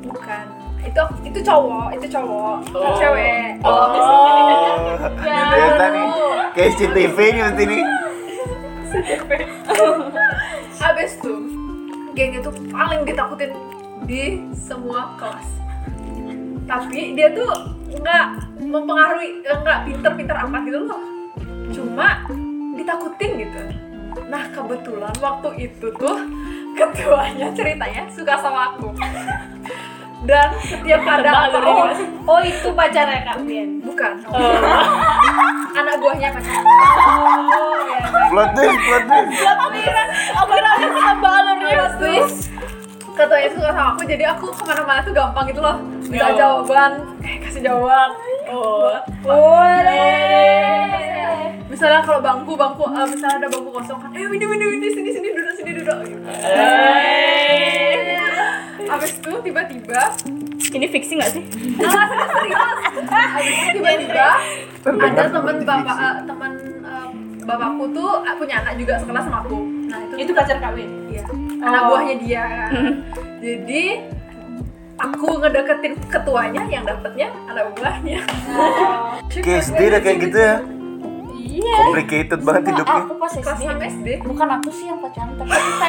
[SPEAKER 2] bukan. Itu itu cowok, itu cowok, bukan cewek.
[SPEAKER 6] Oh,
[SPEAKER 3] Oh, ternyata nih Kayak CTV nih berarti nih
[SPEAKER 2] Habis tuh geng itu paling ditakutin di semua kelas. Tapi dia tuh nggak mempengaruhi, nggak pinter-pinter amat gitu loh. Cuma ditakutin gitu. Nah kebetulan waktu itu tuh ketuanya ceritanya suka sama aku. Dan setiap ada
[SPEAKER 4] Tebak
[SPEAKER 2] oh,
[SPEAKER 8] Oh itu pacarnya kalian.
[SPEAKER 2] bukan anak buahnya pacar. Oh, ya.
[SPEAKER 3] Plot twist, plot twist
[SPEAKER 6] Aku rasa sama
[SPEAKER 2] Iya
[SPEAKER 6] alurnya
[SPEAKER 2] terus ketuanya suka sama aku jadi aku kemana-mana tuh gampang gitu loh minta jawaban eh kasih jawaban oh boleh misalnya kalau bangku bangku eh, misalnya ada bangku kosong kan eh ini ini ini sini sini duduk sini duduk gitu. abis itu tiba-tiba
[SPEAKER 4] Ini fiksi nggak sih?
[SPEAKER 2] alas serius abis itu tiba-tiba ada teman bapak eh, teman eh, bapakku tuh eh, punya anak juga sekelas sama aku nah itu
[SPEAKER 8] Itu pacar kawin.
[SPEAKER 2] Iya. Anak
[SPEAKER 8] Oh.
[SPEAKER 2] buahnya dia. Jadi aku ngedeketin ketuanya yang dapetnya anak buahnya.
[SPEAKER 3] Kayak SD udah kayak gitu ya
[SPEAKER 2] Iya.
[SPEAKER 3] Complicated banget hidupnya
[SPEAKER 6] Aku pas
[SPEAKER 2] Kelas 6
[SPEAKER 6] SD
[SPEAKER 8] Iya.
[SPEAKER 2] SD.
[SPEAKER 6] bukan aku sih yang pacaran tapi kita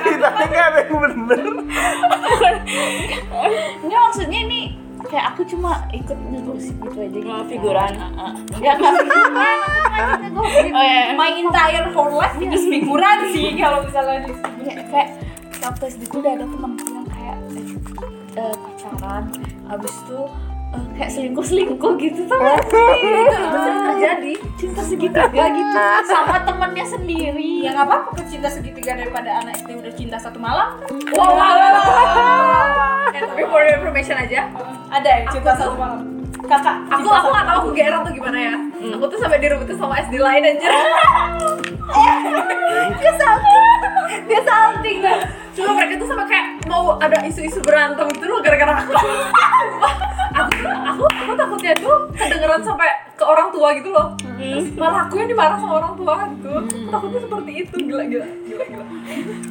[SPEAKER 3] Ceritanya gak ada yang bener
[SPEAKER 6] Enggak maksudnya ini kayak aku cuma ikut ngegosip gitu aja gitu.
[SPEAKER 4] Cuma Oh, figuran.
[SPEAKER 6] Enggak enggak figuran, aku cuma ngegosip.
[SPEAKER 4] Oh iya.
[SPEAKER 6] My entire whole life
[SPEAKER 8] Itu figuran sih kalau misalnya di
[SPEAKER 6] Ya, kayak waktu SD itu udah ada temanku yang kayak eh, eh, pacaran habis itu eh, kayak selingkuh-selingkuh gitu tuh
[SPEAKER 2] Sering terjadi.
[SPEAKER 6] cinta segitiga gitu sama temannya sendiri
[SPEAKER 8] Ya
[SPEAKER 4] Iya,
[SPEAKER 8] nggak apa-apa cinta segitiga daripada anak SD udah cinta satu malam.
[SPEAKER 2] Wow. Eh, tapi for your information aja,
[SPEAKER 8] Ada ya cinta satu malam. Kakak,
[SPEAKER 2] aku aku nggak tahu aku GR atau gimana ya. Aku tuh sampai direbutin sama SD lain anjir.
[SPEAKER 8] dia salting kan.
[SPEAKER 2] Cuma mereka tuh sama kayak mau ada isu-isu berantem gitu loh gara-gara aku. Sumpah, aku tuh- aku aku takutnya tuh kedengeran sampai ke orang tua gitu loh. Terus malah aku yang dimarah sama orang tua gitu. Aku takutnya seperti itu gila gila gila gila.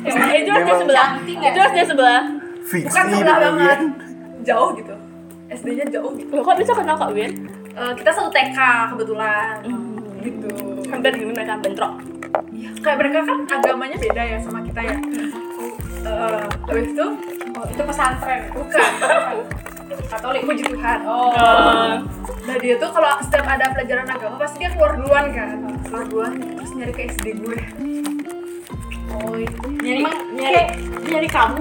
[SPEAKER 4] Itu harusnya
[SPEAKER 3] Memang
[SPEAKER 4] sebelah. Itu harusnya sebelah.
[SPEAKER 3] Fiksi
[SPEAKER 2] Bukan sebelah
[SPEAKER 3] hidupnya.
[SPEAKER 2] banget. Jauh gitu. SD-nya jauh gitu.
[SPEAKER 4] Loh, kok bisa kenal Kak Win? Hmm.
[SPEAKER 2] Eh, kita satu TK kebetulan. Gitu.
[SPEAKER 4] Hampir gimana kan bentrok.
[SPEAKER 2] Ya, kayak mereka kan agamanya beda ya sama kita ya. Eh, habis itu
[SPEAKER 8] Oh, itu pesantren.
[SPEAKER 2] bukan Katolik puji Tuhan.
[SPEAKER 8] Oh.
[SPEAKER 2] Nah dia tuh kalau setiap ada pelajaran agama pasti dia keluar duluan kan Keluar duluan terus nyari ke SD gue
[SPEAKER 8] Oi. Nyari
[SPEAKER 6] Emang
[SPEAKER 8] nyari
[SPEAKER 6] kayak nyari kamu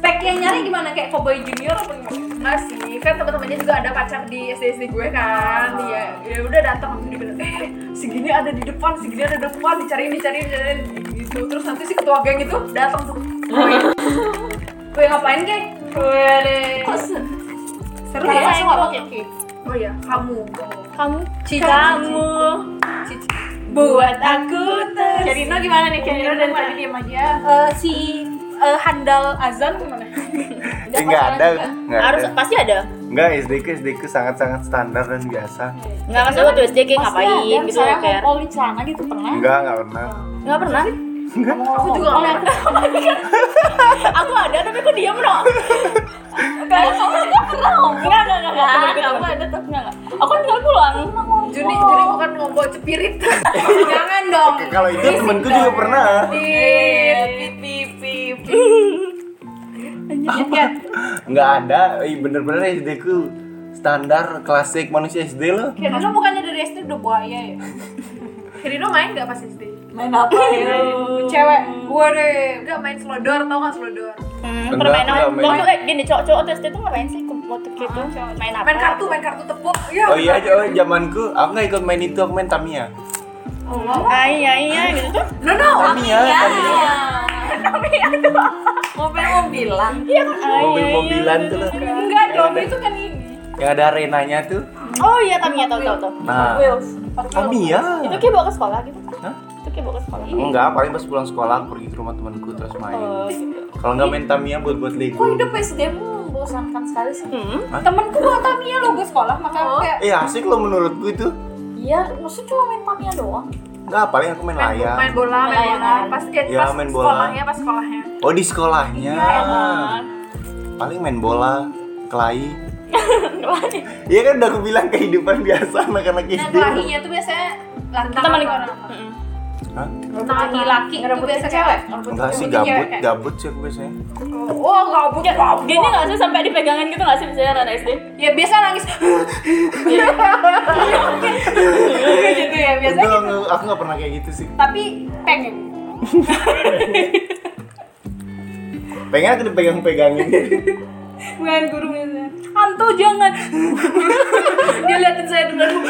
[SPEAKER 8] spek yang nyari gimana kayak Cowboy Junior apa gimana?
[SPEAKER 2] Enggak sih, kan teman-temannya juga ada pacar di SD-SD gue kan Iya, ya udah datang habis itu dibilang Eh, segini ada di depan, segini ada di depan Dicariin, dicariin, dicariin gitu Terus nanti si ketua geng itu datang tuh
[SPEAKER 8] Gue ngapain kek? Gue deh. Seru
[SPEAKER 4] Kalau
[SPEAKER 2] Iya,
[SPEAKER 8] ya?
[SPEAKER 4] saya nggak pakai
[SPEAKER 2] Oh iya, kamu
[SPEAKER 4] kamu
[SPEAKER 8] Kamu
[SPEAKER 2] Cici
[SPEAKER 4] buat aku ter.
[SPEAKER 8] Kerino gimana nih? Kerino dari tadi diem aja. Eh, si eh, handal azan gimana?
[SPEAKER 3] Eh gak ada Gak
[SPEAKER 4] Harus
[SPEAKER 3] ada
[SPEAKER 4] pasti ada.
[SPEAKER 3] Enggak, SD ku SD ku sangat-sangat standar dan biasa
[SPEAKER 4] Enggak masalah waktu SD kayak ngapain
[SPEAKER 6] Maksudnya ada
[SPEAKER 4] gitu loh
[SPEAKER 6] misalnya
[SPEAKER 4] kayak.
[SPEAKER 6] ngumpulin celana gitu pernah
[SPEAKER 3] Enggak, enggak pernah
[SPEAKER 4] Enggak pernah.
[SPEAKER 7] aku juga nggak pernah.
[SPEAKER 4] aku ada tapi aku diam no Enggak, aku enggak pernah ngomong. Enggak, enggak, enggak. Enggak, aku ada tapi enggak. Aku tinggal pulang.
[SPEAKER 7] Juni, Juni bukan ngomong cepirit. Jangan dong.
[SPEAKER 3] Kalau itu temenku juga pernah. Nggak ada. Ih, bener-bener SD ku standar klasik manusia SD loh.
[SPEAKER 2] Kira-kira bukannya dari SD udah buaya ya?
[SPEAKER 7] Herino main nggak pas SD?
[SPEAKER 2] Main apa ya? Cewek
[SPEAKER 7] Gue deh, nggak main selodor, tau nggak selodor?
[SPEAKER 4] Hmm,
[SPEAKER 3] Enggak,
[SPEAKER 4] permainan
[SPEAKER 3] enggak main.
[SPEAKER 4] waktu kayak gini cowok-cowok tes itu ngapain sih motif gitu? Main apa?
[SPEAKER 7] Main kartu, main kartu tepuk. Ya,
[SPEAKER 3] Oh iya, oh, zamanku aku nggak ikut main itu, aku main Tamiya.
[SPEAKER 4] Ai ai ai gitu tuh.
[SPEAKER 7] No no.
[SPEAKER 3] Tamiya, Tamiya.
[SPEAKER 6] mobil-mobilan
[SPEAKER 3] Mobil-mobilan tuh loh.
[SPEAKER 2] Enggak
[SPEAKER 3] iya,
[SPEAKER 2] dong, itu kan ini
[SPEAKER 3] Yang ada arenanya tuh.
[SPEAKER 4] Oh iya Tamiya tahu tahu tahu.
[SPEAKER 3] Nah, Tamiya.
[SPEAKER 4] Itu kayak bawa ke sekolah gitu.
[SPEAKER 3] Hah?
[SPEAKER 4] Itu kayak bawa ke sekolah.
[SPEAKER 3] Enggak, paling pas pulang sekolah aku pergi ke rumah temanku terus main.
[SPEAKER 4] Oh, gitu.
[SPEAKER 3] Kalau nggak main Tamiya buat-buat Lego.
[SPEAKER 2] Hidup SD mu membosankan sekali sih
[SPEAKER 4] Hmm. Oh.
[SPEAKER 2] Temenku bawa Tamiya logo sekolah, makanya aku kayak
[SPEAKER 3] Eh asik loh menurutku itu.
[SPEAKER 6] iya maksudnya cuma main Tamiya doang
[SPEAKER 3] Enggak, paling aku main
[SPEAKER 7] Main,
[SPEAKER 3] layang.
[SPEAKER 7] main bola, main bola. Pas eh,
[SPEAKER 6] Iya.
[SPEAKER 3] Ya,
[SPEAKER 7] pas
[SPEAKER 3] main bola.
[SPEAKER 7] sekolahnya, pas sekolahnya.
[SPEAKER 3] Oh di sekolahnya.
[SPEAKER 2] Iya,
[SPEAKER 4] enak.
[SPEAKER 3] Paling main bola, kelahi. Iya kan udah aku bilang kehidupan biasa anak-anak
[SPEAKER 2] Nah,
[SPEAKER 3] SD.
[SPEAKER 2] kelahinya tuh biasanya lantang
[SPEAKER 4] Temen
[SPEAKER 2] atau
[SPEAKER 4] aku.
[SPEAKER 2] orang.
[SPEAKER 3] Hah?
[SPEAKER 7] Nah,
[SPEAKER 2] laki-laki itu biasanya cewek
[SPEAKER 3] Enggak sih
[SPEAKER 2] Rambutnya
[SPEAKER 3] gabut,
[SPEAKER 2] cewek.
[SPEAKER 3] gabut sih aku biasanya.
[SPEAKER 2] Oh, gabut,
[SPEAKER 4] Ya,
[SPEAKER 2] gabut
[SPEAKER 4] gini nggak sih sampai dipegangin gitu nggak sih biasanya anak SD?
[SPEAKER 2] Ya biasa nangis gitu ya, biasanya
[SPEAKER 3] Enggak, enggak, aku nggak pernah kayak gitu sih.
[SPEAKER 2] Tapi pengen
[SPEAKER 3] Pengen aku dipegang-pegangin.
[SPEAKER 2] Bukan guru misalnya Anto jangan Dia liatin saya dulu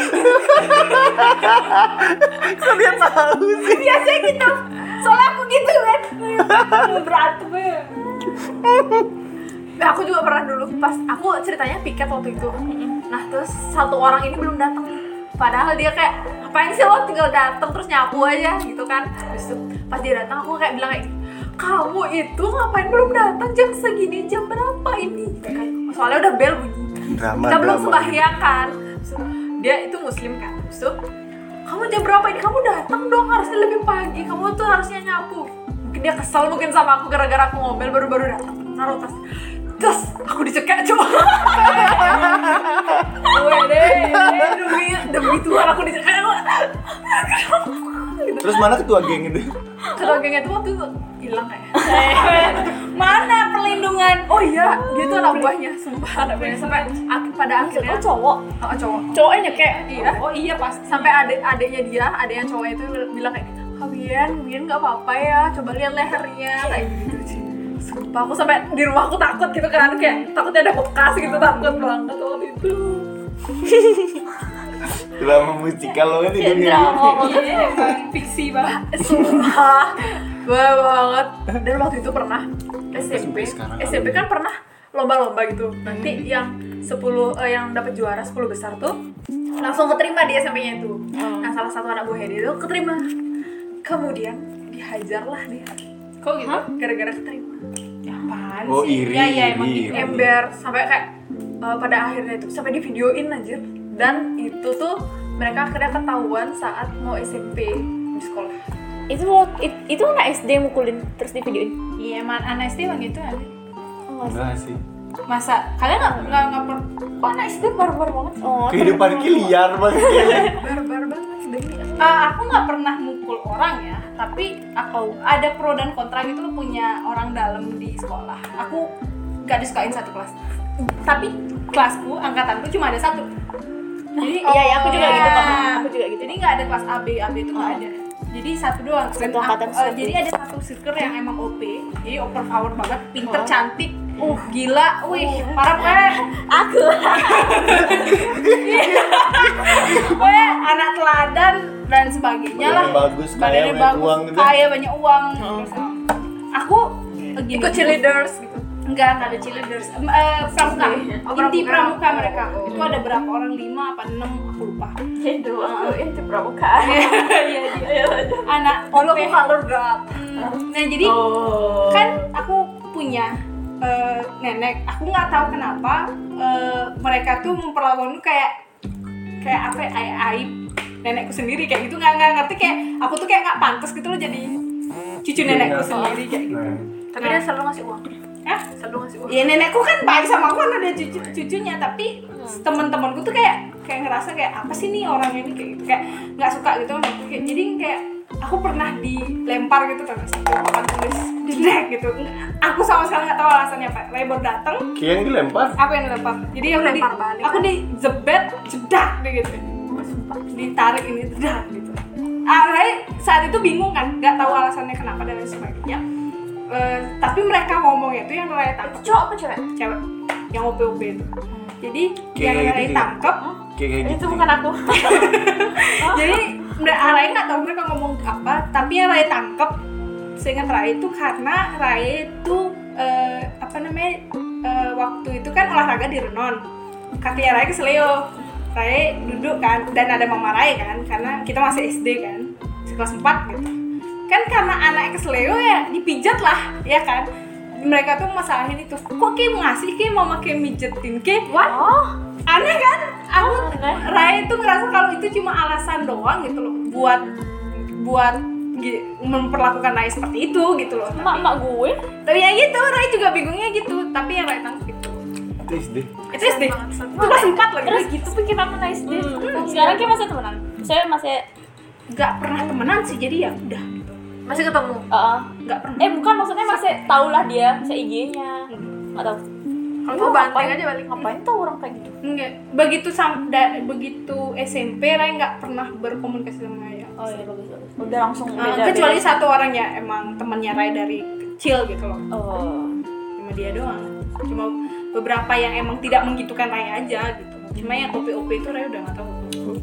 [SPEAKER 3] Kok dia tahu sih?
[SPEAKER 2] Biasanya gitu Soalnya aku gitu kan Mau berantem ya
[SPEAKER 7] Nah, aku juga pernah dulu pas aku ceritanya piket waktu itu. Nah terus satu orang ini belum datang nih. Padahal dia kayak ngapain sih lo tinggal datang terus nyapu aja gitu kan. Terus pas dia datang aku kayak bilang kayak kamu itu ngapain belum datang jam segini jam berapa ini? Gitu kan. Soalnya udah bel bunyi.
[SPEAKER 3] Drama.
[SPEAKER 7] Kita belum
[SPEAKER 3] drama.
[SPEAKER 7] sembahyang kan. Terus Dia itu muslim kan. Terus kamu jam berapa ini? Kamu datang dong harusnya lebih pagi. Kamu tuh harusnya nyapu. Mungkin dia kesel mungkin sama aku gara-gara aku ngomel baru-baru datang. Naruh tas. Tas, aku dicekek coba. Gue deh, demi demi Tuhan aku dicekek.
[SPEAKER 3] Terus mana ketua geng itu?
[SPEAKER 7] Kalau gengnya tuh waktu itu hilang kayak.
[SPEAKER 2] Mana perlindungan
[SPEAKER 7] Oh iya, dia tuh anak buahnya, sumpah anak buahnya sampai ak- pada akhirnya
[SPEAKER 4] Oh cowok,
[SPEAKER 7] oh, cowok.
[SPEAKER 4] cowoknya kayak
[SPEAKER 7] Iya.
[SPEAKER 2] Oh iya pasti
[SPEAKER 7] sampai adik adiknya dia adik yang cowoknya itu bilang kayak Kawian, Wian nggak apa-apa ya, coba lihat lehernya kayak gitu sih. Sumpah aku sampai di rumah aku takut gitu kan, kayak takutnya ada bekas gitu takut banget waktu itu.
[SPEAKER 3] Drama musikal lo kan di dunia.
[SPEAKER 2] Iya, emang fiksi banget
[SPEAKER 7] Sumpah, bah banget. Dan waktu itu pernah SMP,
[SPEAKER 3] Sampai sekarang
[SPEAKER 7] SMP kan pernah lomba-lomba gitu.
[SPEAKER 2] Hmm.
[SPEAKER 7] Nanti yang 10 eh, yang dapat juara 10 besar tuh langsung keterima di SMP-nya itu.
[SPEAKER 2] Hmm.
[SPEAKER 7] Nah, salah satu anak buahnya dia itu keterima. Kemudian dihajarlah dia.
[SPEAKER 2] Kok gitu?
[SPEAKER 7] gara-gara keterima
[SPEAKER 2] Apaan
[SPEAKER 3] Oh,
[SPEAKER 2] sih?
[SPEAKER 3] iri,
[SPEAKER 2] Iya, iya, emang
[SPEAKER 3] iri.
[SPEAKER 2] gitu
[SPEAKER 7] ember sampai kayak uh, pada akhirnya itu sampai di videoin anjir dan itu tuh mereka akhirnya ketahuan saat mau SMP di sekolah
[SPEAKER 4] itu mau it- itu anak SD mukulin terus di videoin.
[SPEAKER 2] Iya, emang anak SD emang gitu kan
[SPEAKER 3] Enggak sih.
[SPEAKER 2] Masa? Kalian nggak nggak nggak per... Kok anak SD barbar banget ya? sih?
[SPEAKER 4] Oh,
[SPEAKER 3] Kehidupan ki liar banget kayaknya.
[SPEAKER 7] barbar banget demi
[SPEAKER 2] Ah, aku nggak pernah mukul orang ya, tapi aku ada pro dan kontra gitu loh punya orang dalam di sekolah. Aku nggak disukain satu kelas, tapi kelasku angkatanku cuma ada satu. Jadi
[SPEAKER 4] Iya, iya, aku juga gitu, Kak. Aku juga gitu.
[SPEAKER 2] Oh, Jadi nggak ada kelas AB, AB itu nggak ada. Jadi Ah. satu doang. Dan
[SPEAKER 4] Satu angkatan,
[SPEAKER 2] aku- eh,
[SPEAKER 4] satu.
[SPEAKER 2] jadi ada satu circle yang emang OP, jadi overpower banget, pinter, cantik, uh gila, wih parah banget.
[SPEAKER 6] aku
[SPEAKER 2] Pokoknya anak teladan dan sebagainya lah.
[SPEAKER 3] Badannya bagus, kaya,
[SPEAKER 2] Badannya
[SPEAKER 3] banyak uang gitu. Oh.
[SPEAKER 2] kaya, banyak uang. Terus, Aku eh, gini,
[SPEAKER 7] ikut cheerleaders gitu
[SPEAKER 2] Enggak, enggak ada cheerleaders. Em, eh, pramuka.
[SPEAKER 7] Oh,
[SPEAKER 2] Inti
[SPEAKER 7] pramuka.
[SPEAKER 2] pramuka mereka. Itu ada berapa orang? 5 apa 6? Aku lupa.
[SPEAKER 6] Hindu aku inti pramuka
[SPEAKER 2] Iya, dia. Anak
[SPEAKER 7] kalau
[SPEAKER 2] OP.
[SPEAKER 7] aku halur gelap
[SPEAKER 2] Hmm, Nah, jadi kan aku punya eh, nenek. Aku nggak tahu kenapa eh, mereka tuh memperlakukanku kayak kayak apa ya, aib, aib nenekku sendiri kayak gitu nggak nggak ngerti kayak aku tuh kayak nggak pantas gitu loh jadi
[SPEAKER 3] Iya,
[SPEAKER 2] cucu nenekku sendiri kayak gitu.
[SPEAKER 3] Nah,
[SPEAKER 7] Tapi dia selalu ngasih uang.
[SPEAKER 2] Hah?
[SPEAKER 7] Selalu ngasih uang.
[SPEAKER 2] Ya nenekku kan baik sama aku kan ada cucu cucunya tapi teman-temanku tuh kayak kayak ngerasa kayak apa sih nih orang ini kayak gitu kayak nggak suka gitu sama aku. Kayak- jadi kayak aku pernah dilempar gitu kan satu papan tulis jenek gitu aku sama sekali nggak tahu alasannya apa labor datang
[SPEAKER 3] Kian dilempar.
[SPEAKER 2] aku yang dilempar jadi aku
[SPEAKER 7] Lempar
[SPEAKER 2] di,
[SPEAKER 7] balik.
[SPEAKER 2] aku di jebet jedak deh gitu ditarik ini jedak gitu Arai saat itu bingung kan nggak tahu alasannya kenapa dan lain sebagainya Eh, tapi mereka ngomongnya itu yang Rai tangkap
[SPEAKER 6] Cowok apa cewek?
[SPEAKER 2] cewek yang op op itu jadi
[SPEAKER 3] Kayak
[SPEAKER 2] yang Rai
[SPEAKER 3] gitu.
[SPEAKER 2] tangkap
[SPEAKER 3] Kayak kayak gitu.
[SPEAKER 6] Itu bukan aku.
[SPEAKER 2] jadi mereka Rai nggak tahu mereka ngomong apa tapi yang Rai tangkap seingat Rai itu karena Rai itu eh, apa namanya eh, waktu itu kan olahraga di Renon kakinya Rai keselio Rai duduk kan dan ada mama Rai kan karena kita masih SD kan masih kelas 4 gitu kan karena anak keselio ya dipijat lah ya kan mereka tuh masalahin itu kok kayak ngasih kayak mama kayak mijetin kayak what aneh kan aku
[SPEAKER 6] Oh,
[SPEAKER 2] Rai tuh ngerasa kalau itu cuma alasan doang gitu loh buat buat gi- memperlakukan Rai seperti itu gitu loh
[SPEAKER 4] mak mak gue
[SPEAKER 2] tapi ya gitu Rai juga bingungnya gitu tapi yang Rai tangkap gitu
[SPEAKER 3] Itu SD.
[SPEAKER 2] itu SD itu kelas empat lagi
[SPEAKER 4] terus
[SPEAKER 2] Rai
[SPEAKER 4] gitu pun kita pernah SD
[SPEAKER 6] Hmm.
[SPEAKER 4] Hmm, sekarang kita masih temenan saya masih
[SPEAKER 2] nggak pernah temenan sih jadi ya udah gitu
[SPEAKER 7] Masih ketemu.
[SPEAKER 4] uh,
[SPEAKER 2] nggak pernah
[SPEAKER 4] eh bukan maksudnya masih tau lah dia masih IG-nya nggak tahu
[SPEAKER 7] Kalau mau banting aja balik.
[SPEAKER 6] Ngapain tuh orang kayak gitu?
[SPEAKER 2] Enggak. begitu sam da- begitu SMP Rai nggak pernah berkomunikasi sama Rai
[SPEAKER 4] oh iya bagus bagus
[SPEAKER 6] Udah langsung
[SPEAKER 2] Eh,
[SPEAKER 6] beda.
[SPEAKER 2] kecuali satu orang ya emang temannya Rai dari kecil gitu loh
[SPEAKER 4] oh
[SPEAKER 2] cuma dia doang cuma beberapa yang emang tidak menggitukan Rai aja gitu cuma yang OP OP itu Rai udah nggak tahu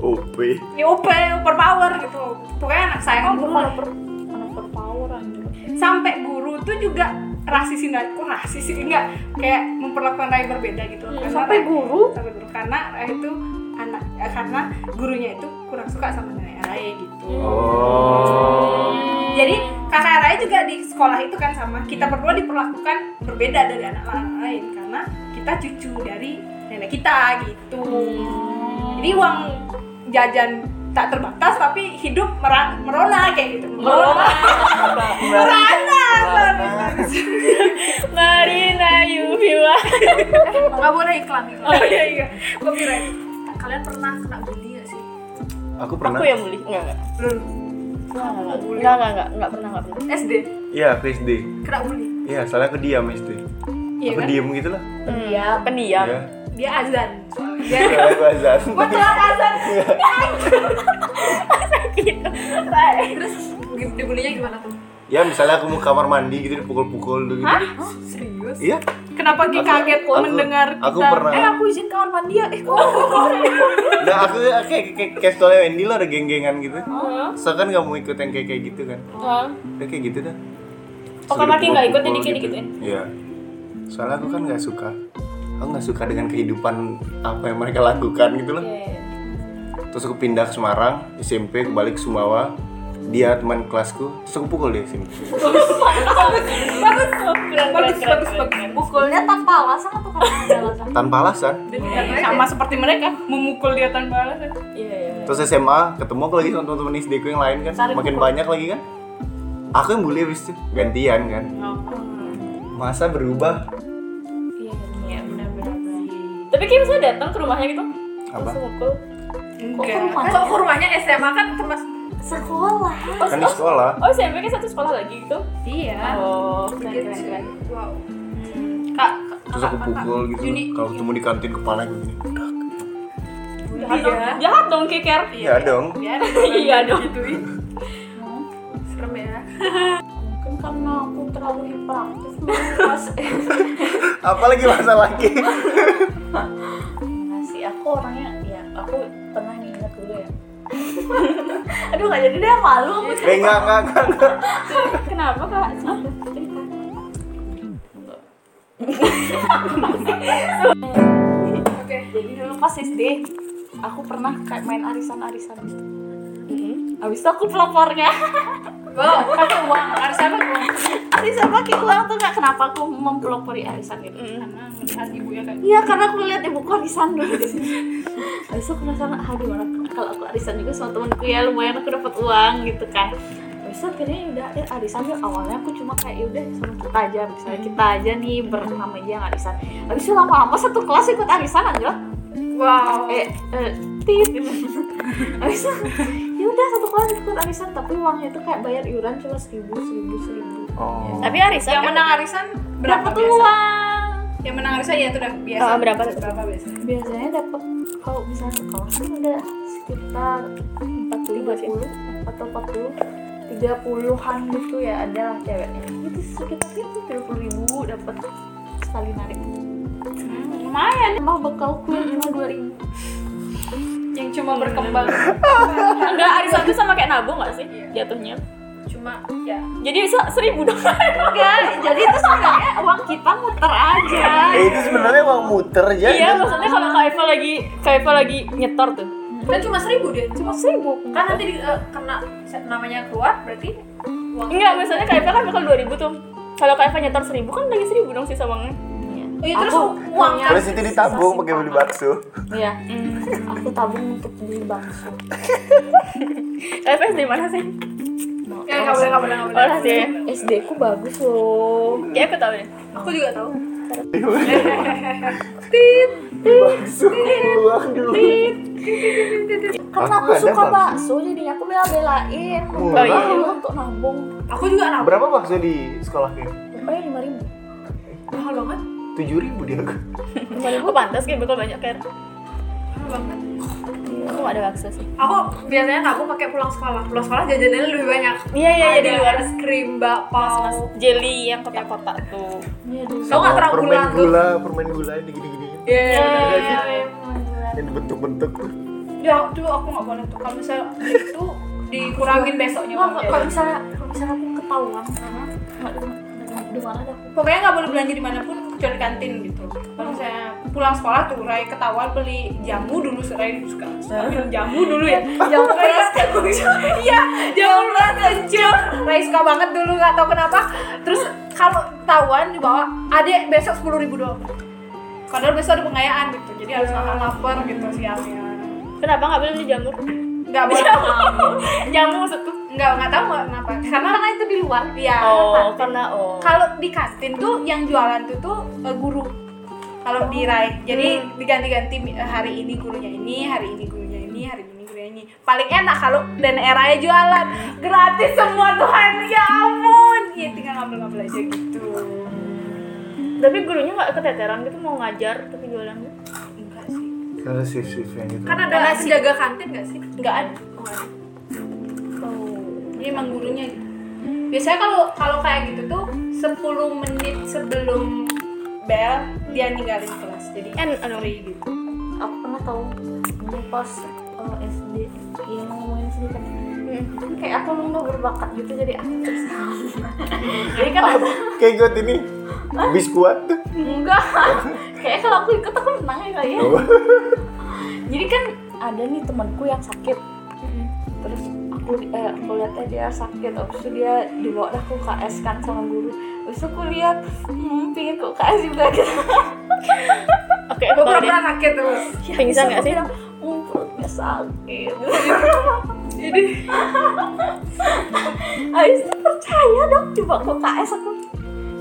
[SPEAKER 3] OP.
[SPEAKER 2] ya OP overpower gitu pokoknya anak saya
[SPEAKER 6] Kamu
[SPEAKER 2] guru
[SPEAKER 6] kalau per anak berpower anjir.
[SPEAKER 2] sampai guru tuh juga rasisin Rai kok rasis sih enggak kayak memperlakukan Rai berbeda gitu Karena
[SPEAKER 6] Iya, Sampai
[SPEAKER 2] Rai-
[SPEAKER 6] guru.
[SPEAKER 2] sampai guru karena Rai itu anak eh, karena gurunya itu kurang suka sama nenek Rai gitu
[SPEAKER 6] Iya,
[SPEAKER 3] Oh.
[SPEAKER 2] jadi kakak Rai juga di sekolah itu kan sama
[SPEAKER 7] Iya.
[SPEAKER 2] kita berdua diperlakukan berbeda dari anak-anak lain karena kita cucu dari nenek kita gitu
[SPEAKER 7] Hmm.
[SPEAKER 2] jadi uang jajan tak terbatas tapi hidup merang, merona kayak gitu merona merana bagus, bagus.
[SPEAKER 4] Marina Yubiwa
[SPEAKER 7] Enggak boleh iklan iklan.
[SPEAKER 2] oh iya iya copyright
[SPEAKER 7] Kalian pernah kena bully gak sih?
[SPEAKER 3] Aku pernah.
[SPEAKER 4] aku yang beli enggak enggak
[SPEAKER 2] Belum.
[SPEAKER 4] enggak enggak enggak enggak enggak enggak pernah enggak pernah
[SPEAKER 7] SD
[SPEAKER 3] Iya, aku SD.
[SPEAKER 7] kena bully.
[SPEAKER 3] Iya, soalnya aku diam SD.
[SPEAKER 2] iya
[SPEAKER 3] aku
[SPEAKER 2] kan
[SPEAKER 3] diam gitu lah.
[SPEAKER 4] pendiam pendiam
[SPEAKER 3] Iya.
[SPEAKER 7] Dia azan. soalnya. Dia
[SPEAKER 2] Iya.
[SPEAKER 3] Soalnya aku azan.
[SPEAKER 2] gue telat azan
[SPEAKER 4] gitu
[SPEAKER 7] terus di- dibulinya gimana tuh?
[SPEAKER 3] Ya misalnya aku mau kamar mandi gitu dipukul-pukul gitu.
[SPEAKER 7] Serius?
[SPEAKER 3] Iya.
[SPEAKER 2] kenapa Ki kaget
[SPEAKER 3] aku-
[SPEAKER 2] mendengar
[SPEAKER 3] aku
[SPEAKER 2] kita
[SPEAKER 3] pernah.
[SPEAKER 2] eh aku izin kamar mandi ya eh kok
[SPEAKER 3] Nah aku kayak kayak kayak, kayak sekolahnya Wendy lo ada geng-gengan gitu. So kan gak mau ikut yang kayak kayak gitu kan.
[SPEAKER 4] Hah?
[SPEAKER 3] Udah kayak gitu dah.
[SPEAKER 4] Oh,
[SPEAKER 3] Suruh
[SPEAKER 4] karena Ki nggak ya? ikut, jadi Ki
[SPEAKER 3] dipukul-pukul
[SPEAKER 4] digituin?
[SPEAKER 3] Iya. Soalnya aku kan nggak suka. Aku nggak suka dengan kehidupan apa yang mereka lakukan gitu
[SPEAKER 4] Iya,
[SPEAKER 3] loh. Terus aku pindah ke Semarang, SMP, aku balik ke Sumawa. Dia teman kelasku, terus aku pukul dia SMP.
[SPEAKER 2] bagus bagus bagus
[SPEAKER 6] Pukulnya tanpa alasan atau karena ada alasan?
[SPEAKER 3] Tanpa alasan.
[SPEAKER 2] Iya, sama seperti mereka memukul dia tanpa alasan
[SPEAKER 4] iya iya
[SPEAKER 3] Terus SMA ketemu aku lagi sama teman-teman SD ku yang lain kan, makin banyak lagi kan. Aku yang bully habis itu, gantian kan. Masa berubah
[SPEAKER 4] iya iya benar benar tapi Ki bisa datang ke rumahnya gitu
[SPEAKER 3] apa?
[SPEAKER 4] terus mukul
[SPEAKER 2] enggak
[SPEAKER 7] Kok ke rumahnya SMA kan termasuk
[SPEAKER 6] Sekolah.
[SPEAKER 3] Kan di sekolah.
[SPEAKER 4] oh SMP kan satu sekolah lagi gitu
[SPEAKER 2] iya
[SPEAKER 6] Ah,
[SPEAKER 4] oh
[SPEAKER 7] gitu sih. Wow.
[SPEAKER 2] kak
[SPEAKER 3] Terus aku pukul gitu. Kalau ketemu di kantin kepala gitu, gini.
[SPEAKER 4] jahat
[SPEAKER 6] ya.
[SPEAKER 4] dong jahat dong Ki Ker
[SPEAKER 3] Iya dong.
[SPEAKER 2] ya
[SPEAKER 4] iya dong
[SPEAKER 7] gitu ya. Serem ya.
[SPEAKER 6] Mungkin karena aku terlalu hiperaktif dulu pas
[SPEAKER 3] Apalagi masa laki.
[SPEAKER 6] Enggak sih, aku orangnya ya aku pernah nginget dulu ya. Aduh nggak jadi deh malu aku
[SPEAKER 4] Iya.
[SPEAKER 3] Eh enggak enggak enggak. enggak.
[SPEAKER 4] kenapa kak
[SPEAKER 6] Jadi dulu pas SD aku pernah kayak main arisan-arisan gitu. Abis itu aku pelopornya
[SPEAKER 7] Wow.
[SPEAKER 2] Mm-hmm. pakai uang harus apa uang
[SPEAKER 6] Arisan pakai uang tuh gak kenapa aku mempelopori arisan gitu
[SPEAKER 2] karena Mm-hmm. melihat ya, ibunya kayak
[SPEAKER 6] Iya karena aku lihat ibuku arisan dulu di sini. Habis itu aku merasa ah gimana kalau aku arisan juga sama temanku ya lumayan aku dapat uang gitu kan. Habis akhirnya udah arisan tuh awalnya aku cuma kayak yaudah sama kita aja misalnya kita aja nih bernama aja yang arisan habis itu lama-lama satu kelas ikut arisan aja
[SPEAKER 7] Wow.
[SPEAKER 6] eh eh tit habis itu yaudah satu kelas ikut arisan tapi uangnya itu kayak bayar iuran cuma seribu seribu seribu
[SPEAKER 3] Oh.
[SPEAKER 4] Tapi Arisa kan
[SPEAKER 2] yang menang arisan berapa
[SPEAKER 6] berapa tuh
[SPEAKER 2] biasa?
[SPEAKER 6] uang
[SPEAKER 2] Yang menang arisan ya itu udah biasa.
[SPEAKER 4] Oh, berapa?
[SPEAKER 2] Berapa biasa?
[SPEAKER 6] biasanya dapat kalau misalnya ke kelas kan ada sekitar 40 40 atau 40 30-an gitu ya ada lah ceweknya Gitu, itu sekitar itu 30 ribu dapat sekali narik
[SPEAKER 2] Lumayan
[SPEAKER 6] emang bekal kue cuma 2 ribu
[SPEAKER 2] yang cuma berkembang.
[SPEAKER 4] enggak Arisa itu sama kayak nabung nggak sih
[SPEAKER 6] Iya.
[SPEAKER 4] jatuhnya?
[SPEAKER 2] cuma ya
[SPEAKER 4] Jadi bisa seribu dolar.
[SPEAKER 6] enggak jadi itu sebenarnya uang kita muter aja
[SPEAKER 3] Eh, itu sebenarnya uang muter aja.
[SPEAKER 4] Iya, maksudnya kalau Kak Eva lagi Kak Eva lagi nyetor tuh.
[SPEAKER 7] Kan cuma seribu dia. Cuma
[SPEAKER 4] Seribu.
[SPEAKER 7] kan nanti di, eh, kena namanya keluar berarti uang.
[SPEAKER 4] Enggak, misalnya Kak Eva kan bakal 2000 tuh. Kalau Kak Eva nyetor 1000 kan lagi 1000 dong sisa uangnya.
[SPEAKER 7] Oh, iya, terus
[SPEAKER 6] Aku
[SPEAKER 7] uang
[SPEAKER 6] punya-
[SPEAKER 7] kan.
[SPEAKER 3] Terus itu ditabung pakai beli bakso.
[SPEAKER 6] iya aku tabung untuk beli bakso
[SPEAKER 4] Kak Eva dari mana sih?
[SPEAKER 7] Ya nggak boleh nggak boleh nggak
[SPEAKER 4] Oh,
[SPEAKER 7] boleh.
[SPEAKER 4] rahasia.
[SPEAKER 6] SD ku bagus loh
[SPEAKER 4] Kayak aku tahu ya.
[SPEAKER 7] Aku juga tahu.
[SPEAKER 3] Beli bakso uang dulu.
[SPEAKER 6] karena
[SPEAKER 3] Aku
[SPEAKER 6] aku
[SPEAKER 3] ada
[SPEAKER 6] suka
[SPEAKER 3] bakso.
[SPEAKER 6] bakso Oh, iya. jadi aku bela-belain
[SPEAKER 3] Murah.
[SPEAKER 6] Bela-belain untuk nabung
[SPEAKER 7] Aku juga nabung.
[SPEAKER 3] Berapa bakso di sekolahnya?
[SPEAKER 6] Rupanya lima ribu
[SPEAKER 7] Mahal banget.
[SPEAKER 3] Tujuh ribu dia.
[SPEAKER 4] Aku pantas kayak bakal banyak kayak
[SPEAKER 7] Mahal banget.
[SPEAKER 4] aku nggak ada akses sih.
[SPEAKER 7] Aku biasanya nabung pakai pulang sekolah. Pulang sekolah jajanannya lebih banyak.
[SPEAKER 4] Iya, iya, iya, di
[SPEAKER 7] Ada
[SPEAKER 4] luar.
[SPEAKER 7] es krim, bakpao.
[SPEAKER 4] Jelly yang kotak-kotak tuh.
[SPEAKER 6] Iya dulu
[SPEAKER 7] Tau nggak terang gula
[SPEAKER 3] permen
[SPEAKER 7] tuh?
[SPEAKER 3] gula, permen gula ini gini-gini
[SPEAKER 7] Iya. iya, iya.
[SPEAKER 3] yang bentuk-bentuk tuh.
[SPEAKER 7] Ya itu aku nggak boleh tuh. Kalau misalnya itu dikurangin besoknya.
[SPEAKER 6] Nggak,
[SPEAKER 7] uangnya.
[SPEAKER 6] kalau misalnya kalau misalnya aku ketahuan nggak di- di mana ada aku
[SPEAKER 2] pokoknya nggak boleh belanja dimanapun kecuali kantin gitu kalau misalnya pulang sekolah tuh Rai ketahuan beli jamu dulu Rai suka suka minum jamu dulu ya jamu beras kencur iya jamu beras kencur
[SPEAKER 7] Rai suka banget dulu nggak tahu kenapa. Terus kalau ketahuan dibawa adek besok sepuluh ribu doang.
[SPEAKER 2] padahal besok ada pengayaan gitu jadi harus makan lapar gitu siangnya
[SPEAKER 4] Kenapa nggak boleh beli jamur?
[SPEAKER 2] nggak boleh
[SPEAKER 4] Jamur maksudku.
[SPEAKER 2] nggak nggak tahu nggak kenapa karena
[SPEAKER 6] karena itu di luar
[SPEAKER 2] iya
[SPEAKER 4] Oh, karena oh.
[SPEAKER 2] kalau di kantin tuh yang jualan tuh tuh eh, guru kalau di Rai jadi diganti-ganti eh, hari ini gurunya ini hari ini gurunya ini hari ini gurunya ini paling enak kalau dan eranya jualan gratis semua Tuhan ya ampun ya tinggal ngambil-ngambil aja gitu
[SPEAKER 4] Tapi gurunya nggak keteteran gitu mau ngajar tapi jualan gitu.
[SPEAKER 2] enggak sih
[SPEAKER 3] Kalau sif-sifnya gitu.
[SPEAKER 7] Kan ada penjaga kantin nggak sih?
[SPEAKER 2] enggak ada
[SPEAKER 4] Oh.
[SPEAKER 2] ini emang gurunya gitu biasanya kalau kalau kayak gitu tuh 10 menit sebelum bel dia ninggalin kelas jadi
[SPEAKER 4] Kan anu
[SPEAKER 2] free gitu
[SPEAKER 6] aku pernah tahu ini pas eh, SD yang ngomongin SD kan
[SPEAKER 2] Hmm.
[SPEAKER 6] kayak aku nggak berbakat gitu jadi aktif jadi kan ada
[SPEAKER 3] Kayak gue ini biskuat tuh.
[SPEAKER 6] enggak kayak kalau aku ikut aku menang ya kali ya
[SPEAKER 3] Oh.
[SPEAKER 6] jadi kan ada nih temanku yang sakit terus aku eh, aku lihatnya dia sakit abis itu dia dibawa dah ke UKS kan sama guru abis itu aku lihat hmm, pingin ke UKS juga gitu
[SPEAKER 4] Oke, aku
[SPEAKER 2] Oh,
[SPEAKER 7] Pura-pura
[SPEAKER 4] pernah
[SPEAKER 7] sakit terus.
[SPEAKER 4] pingsan nggak sih?
[SPEAKER 6] hmm, perutnya sakit
[SPEAKER 7] Jadi
[SPEAKER 6] abis itu percaya dong coba ke UKS aku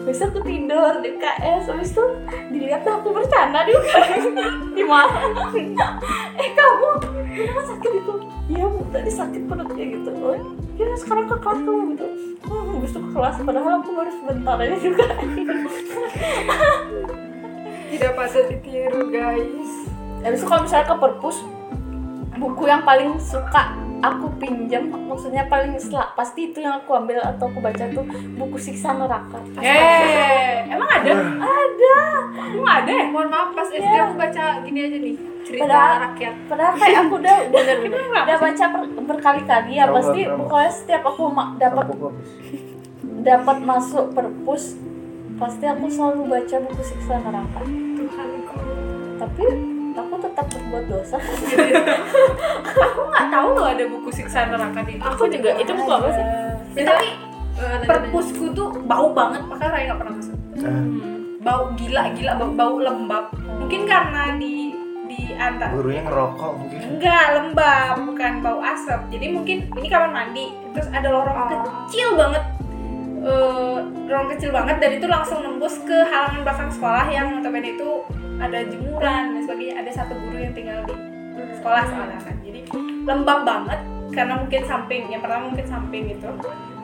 [SPEAKER 6] abis itu aku tidur di UKS abis itu dilihat dah aku bercanda di UKS di mana eh kamu kenapa sakit itu iya bu tadi sakit perutnya gitu oh ya sekarang ke kelas kamu gitu hmm, abis itu ke kelas padahal aku baru sebentar aja juga
[SPEAKER 7] tidak patut ditiru guys.
[SPEAKER 6] abis itu kalau misalnya ke perpus buku yang paling suka aku pinjam maksudnya paling sel- pasti itu yang aku ambil atau aku baca tuh buku siksa neraka
[SPEAKER 2] eh emang ada
[SPEAKER 6] ada
[SPEAKER 2] emang ada ya
[SPEAKER 7] Eh, Mohon maaf pas SD aku baca gini aja nih cerita
[SPEAKER 6] Padahal-
[SPEAKER 7] rakyat.
[SPEAKER 6] padahal Nah, kayak aku udah udah, udah baca per- berkali-kali ya
[SPEAKER 3] Trauma,
[SPEAKER 6] pasti
[SPEAKER 3] trauma.
[SPEAKER 6] pokoknya setiap aku ma- dapat dapat masuk perpus pasti aku selalu baca buku siksa neraka
[SPEAKER 7] Tuhanku.
[SPEAKER 6] tapi aku tetap berbuat dosa
[SPEAKER 2] aku nggak tahu loh ada buku siksa neraka di
[SPEAKER 4] Aku juga. Itu buku apa sih?
[SPEAKER 7] eh,
[SPEAKER 2] Ya, tapi
[SPEAKER 7] Perpus
[SPEAKER 2] perpusku tuh bau banget makanya Raya nggak pernah masuk
[SPEAKER 3] Ah.
[SPEAKER 7] Oh.
[SPEAKER 2] bau gila gila bau, bau lembab mungkin karena di di di antar
[SPEAKER 3] gurunya ngerokok mungkin
[SPEAKER 2] Enggak, lembab, bukan bau asap. Jadi mungkin ini kamar mandi, terus ada lorong kecil banget. Eh, lorong kecil banget dan itu langsung nembus ke halaman belakang sekolah yang notabene itu ada jemuran dan sebagainya. Ada satu guru yang tinggal di sekolah soalnya kan. Jadi lembab banget karena mungkin samping, yang pertama mungkin samping gitu.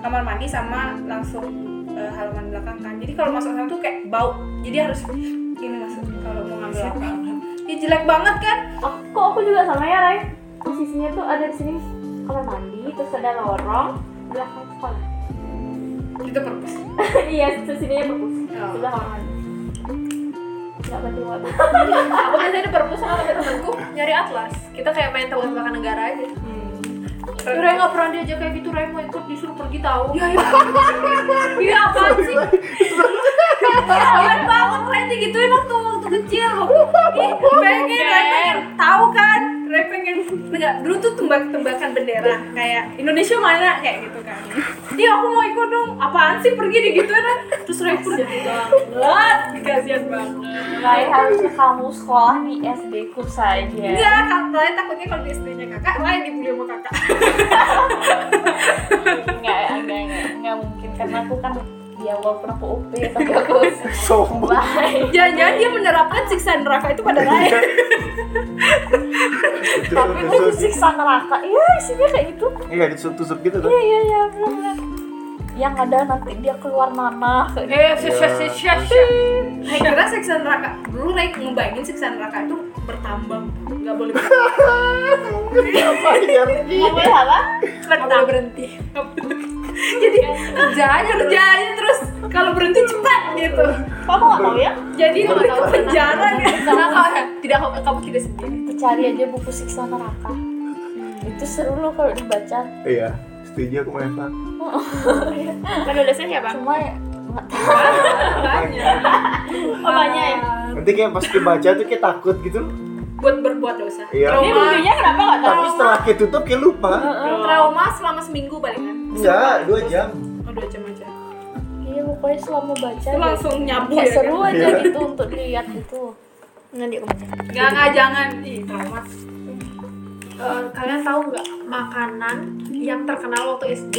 [SPEAKER 2] Kamar mandi sama langsung eh, halaman belakang kan. Jadi kalau masuk sana tuh kayak bau. Jadi harus gini masuk kalau mau ngambil apa. Ih, jelek banget kan?
[SPEAKER 6] Aku, kok aku juga sama ya, Rai. Posisinya tuh ada di sini kamar mandi, terus ada lorong belakang sekolah.
[SPEAKER 2] Itu Gitu, purpose.
[SPEAKER 6] iya, terus sininya bagus.
[SPEAKER 2] Oh.
[SPEAKER 6] Sebelah kamar mandi. Enggak berarti waktu.
[SPEAKER 7] aku biasanya di perpus sama temen-temenku nyari atlas kita kayak main tebak-tebakan negara aja
[SPEAKER 2] Ray nggak pernah diajak kayak gitu, Ray mau ikut disuruh pergi tahu. Ya ya.
[SPEAKER 7] iya apaan sih
[SPEAKER 2] Kawan banget Ray digituin waktu waktu kecil. Ih, pengen, Ray pengen tahu kan? Ray pengen nggak dulu tuh tembak-tembakan bendera kayak Indonesia mana kayak gitu kan. Iya aku
[SPEAKER 6] "Oh
[SPEAKER 2] mau ikut dong. Apaan sih pergi digituin? Ray? Terus Ray pun banget, kasihan banget.
[SPEAKER 6] Rai harusnya kamu sekolah di SD ku saja.
[SPEAKER 2] Enggak, kakak takutnya kalau di SD-nya kakak, Ray dibully sama kakak.
[SPEAKER 6] Enggak, enggak, enggak, enggak mungkin karena aku kan ya walaupun aku UP tapi aku
[SPEAKER 3] sombong
[SPEAKER 6] baik.
[SPEAKER 2] Jangan-jangan dia menerapkan siksaan neraka itu pada Ray.
[SPEAKER 3] Itu
[SPEAKER 6] tapi aku
[SPEAKER 3] tusuk-
[SPEAKER 6] siksa neraka. Iya, isinya kayak gitu.
[SPEAKER 3] iya ditusuk-tusuk gitu tuh
[SPEAKER 6] Iya, iya, iya, benar-benar. Yang ada nanti dia keluar nanah kayak gitu.
[SPEAKER 7] eh sya sya sya sya
[SPEAKER 2] Iya. Saya kira siksa neraka dulu Ray ngebayangin siksa neraka itu bertambah nggak boleh berhenti
[SPEAKER 3] Iya,
[SPEAKER 4] iya.
[SPEAKER 6] Ngomongnya Iya, apa?
[SPEAKER 2] nggak boleh berhenti jadi kerja aja kerja aja terus kalau berhenti cepat gitu
[SPEAKER 6] Kamu nggak tahu ya?
[SPEAKER 2] jadi lebih ke penjara gitu
[SPEAKER 7] karena kau tidak kamu, kamu tidak sendiri
[SPEAKER 6] Itu Cari aja buku siksa neraka. Itu seru loh kalau dibaca.
[SPEAKER 3] iya setuju aku sama Eva
[SPEAKER 2] Kan
[SPEAKER 4] Penulisnya siapa?
[SPEAKER 6] Cuma ya, nggak
[SPEAKER 3] Iya,
[SPEAKER 6] tahu.
[SPEAKER 4] Oh, banyak ya.
[SPEAKER 3] nanti kayak pas dibaca tuh kayak takut gitu
[SPEAKER 2] buat berbuat dosa
[SPEAKER 3] iya
[SPEAKER 4] Ini bukunya kenapa nggak tahu?
[SPEAKER 3] tapi setelah kayak tutup kayak lupa
[SPEAKER 2] Iya. trauma selama seminggu palingan
[SPEAKER 3] enggak dua jam
[SPEAKER 2] oh dua jam aja
[SPEAKER 6] Iya, pokoknya selama baca.
[SPEAKER 2] itu langsung nyabu
[SPEAKER 6] Kayak
[SPEAKER 2] ya
[SPEAKER 6] seru
[SPEAKER 2] kan
[SPEAKER 6] aja
[SPEAKER 3] Iya.
[SPEAKER 6] gitu untuk dilihat gitu.
[SPEAKER 4] Nanti aku baca.
[SPEAKER 2] nggak nggak jangan ih trauma
[SPEAKER 7] Eh, kalian tahu nggak makanan yang terkenal waktu SD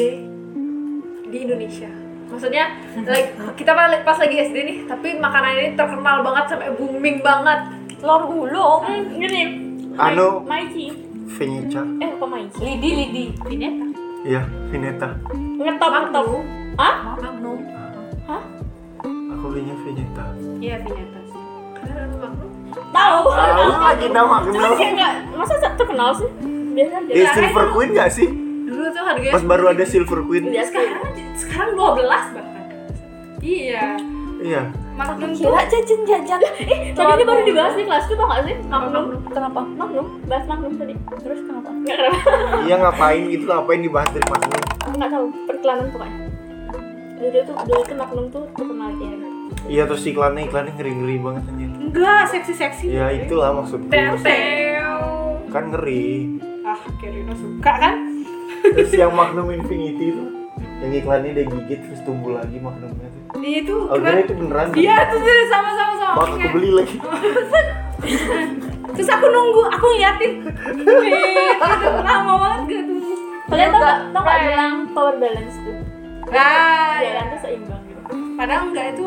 [SPEAKER 7] di Indonesia maksudnya like, kita pas, pas lagi SD nih tapi makanan ini terkenal banget sampai booming banget
[SPEAKER 6] Telur gulung.
[SPEAKER 4] Hmm, ini.
[SPEAKER 3] Anu.
[SPEAKER 4] Maici.
[SPEAKER 3] Vineta
[SPEAKER 6] Eh, kok Maici?
[SPEAKER 2] lidi lidi
[SPEAKER 4] Vineta.
[SPEAKER 3] iya Vineta
[SPEAKER 4] Ngetop, ngetop.
[SPEAKER 7] Magnum
[SPEAKER 4] Hah?
[SPEAKER 7] Magnum
[SPEAKER 3] aku belinya Vineta
[SPEAKER 2] iya ternyata
[SPEAKER 7] kalian ada Magnum
[SPEAKER 4] Tahu.
[SPEAKER 3] tahu lagi nama aku
[SPEAKER 4] Terus
[SPEAKER 3] belum
[SPEAKER 4] ya nggak, masa satu kenal sih? Biasanya dia.
[SPEAKER 3] Eh, Silver Queen gak sih?
[SPEAKER 7] dulu tuh
[SPEAKER 2] Iya.
[SPEAKER 7] harganya
[SPEAKER 3] Pas baru ada Silver Queen.
[SPEAKER 4] Iya, sekarang.
[SPEAKER 2] sekarang sekarang dua belas bahkan iya
[SPEAKER 3] Iya.
[SPEAKER 2] magnum tuh
[SPEAKER 6] Kira jajan-jajan. Eh,
[SPEAKER 4] Tadi ini baru dibahas di kelas tuh tau nggak sih?
[SPEAKER 6] Magnum. Kenapa?
[SPEAKER 4] Magnum, bahas Magnum tadi. Terus kenapa? Nggak
[SPEAKER 3] Iya ngapain gitu ngapain dibahas dari Magnum.
[SPEAKER 4] kenapa. Nggak tahu. Perklanan pokoknya. Jadi tuh dulu kan Magnum tuh terkenal dia.
[SPEAKER 3] Iya terus iklannya iklannya ngeri-ngeri banget anjir.
[SPEAKER 2] enggak seksi seksi
[SPEAKER 3] Ya itulah maksudku.
[SPEAKER 2] Iya.
[SPEAKER 3] Kan ngeri.
[SPEAKER 2] ah Kirino suka kan
[SPEAKER 3] Terus yang Magnum Infinity itu yang iklannya dia gigit terus tumbuh lagi Magnumnya tuh.
[SPEAKER 2] dia Iya, itu
[SPEAKER 3] Oh, kira itu beneran.
[SPEAKER 2] dia tuh dia sama sama sama
[SPEAKER 3] Bang, aku
[SPEAKER 2] Kayak-
[SPEAKER 3] beli lagi.
[SPEAKER 2] terus aku nunggu aku ngeliatin Wih, itu lama banget gak tuh
[SPEAKER 4] Kalian tau nggak? Tau nggak
[SPEAKER 6] Right.
[SPEAKER 4] bilang power balance tuh?
[SPEAKER 6] Iya.
[SPEAKER 2] nah
[SPEAKER 4] Jalan tuh seimbang gitu.
[SPEAKER 2] padahal enggak itu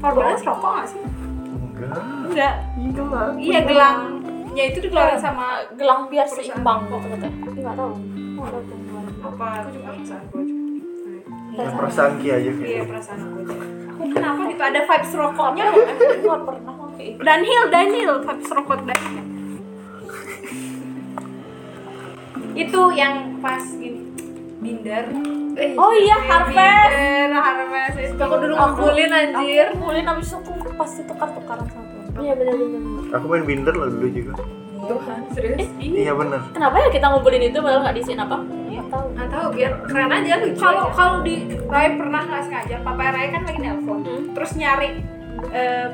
[SPEAKER 2] Forbes rokok gak sih
[SPEAKER 3] Enggak.
[SPEAKER 2] enggak
[SPEAKER 3] Enggak.
[SPEAKER 2] iya gelangnya itu dikeluarin sama
[SPEAKER 6] Gelang biar
[SPEAKER 2] Perusahaan.
[SPEAKER 6] seimbang kok katanya.
[SPEAKER 4] Nggak tahu. Nggak tahu.
[SPEAKER 2] apa aku juga perasaan aku aja
[SPEAKER 3] Ya, perasaan Ki aja
[SPEAKER 2] iya
[SPEAKER 3] kayak.
[SPEAKER 2] perasaan aku aja aku kenapa gitu ada vibes rokoknya
[SPEAKER 6] Aku nggak pernah gitu. pakai itu.
[SPEAKER 2] Danhil Danhil vibes rokok Danhil itu yang pas ini binder
[SPEAKER 7] eh,
[SPEAKER 6] Oh iya, harvest.
[SPEAKER 2] Binder, harvest itu
[SPEAKER 7] aku dulu ngumpulin anjir
[SPEAKER 6] Aku mulai abis itu aku pasti tukar-tukaran sama temen.
[SPEAKER 4] Iya benar benar. benar.
[SPEAKER 3] Aku main binder lah dulu juga.
[SPEAKER 7] Tuhan serius
[SPEAKER 3] Iya bener.
[SPEAKER 4] Kenapa ya kita ngumpulin itu padahal nggak diisiin apa?
[SPEAKER 6] Nggak tahu.
[SPEAKER 7] nggak tahu biar keren aja lucu
[SPEAKER 2] kalau
[SPEAKER 7] aja.
[SPEAKER 2] kalau di Rai pernah nggak sengaja papa Rai kan lagi nelpon
[SPEAKER 7] Hmm.
[SPEAKER 2] terus nyari eh,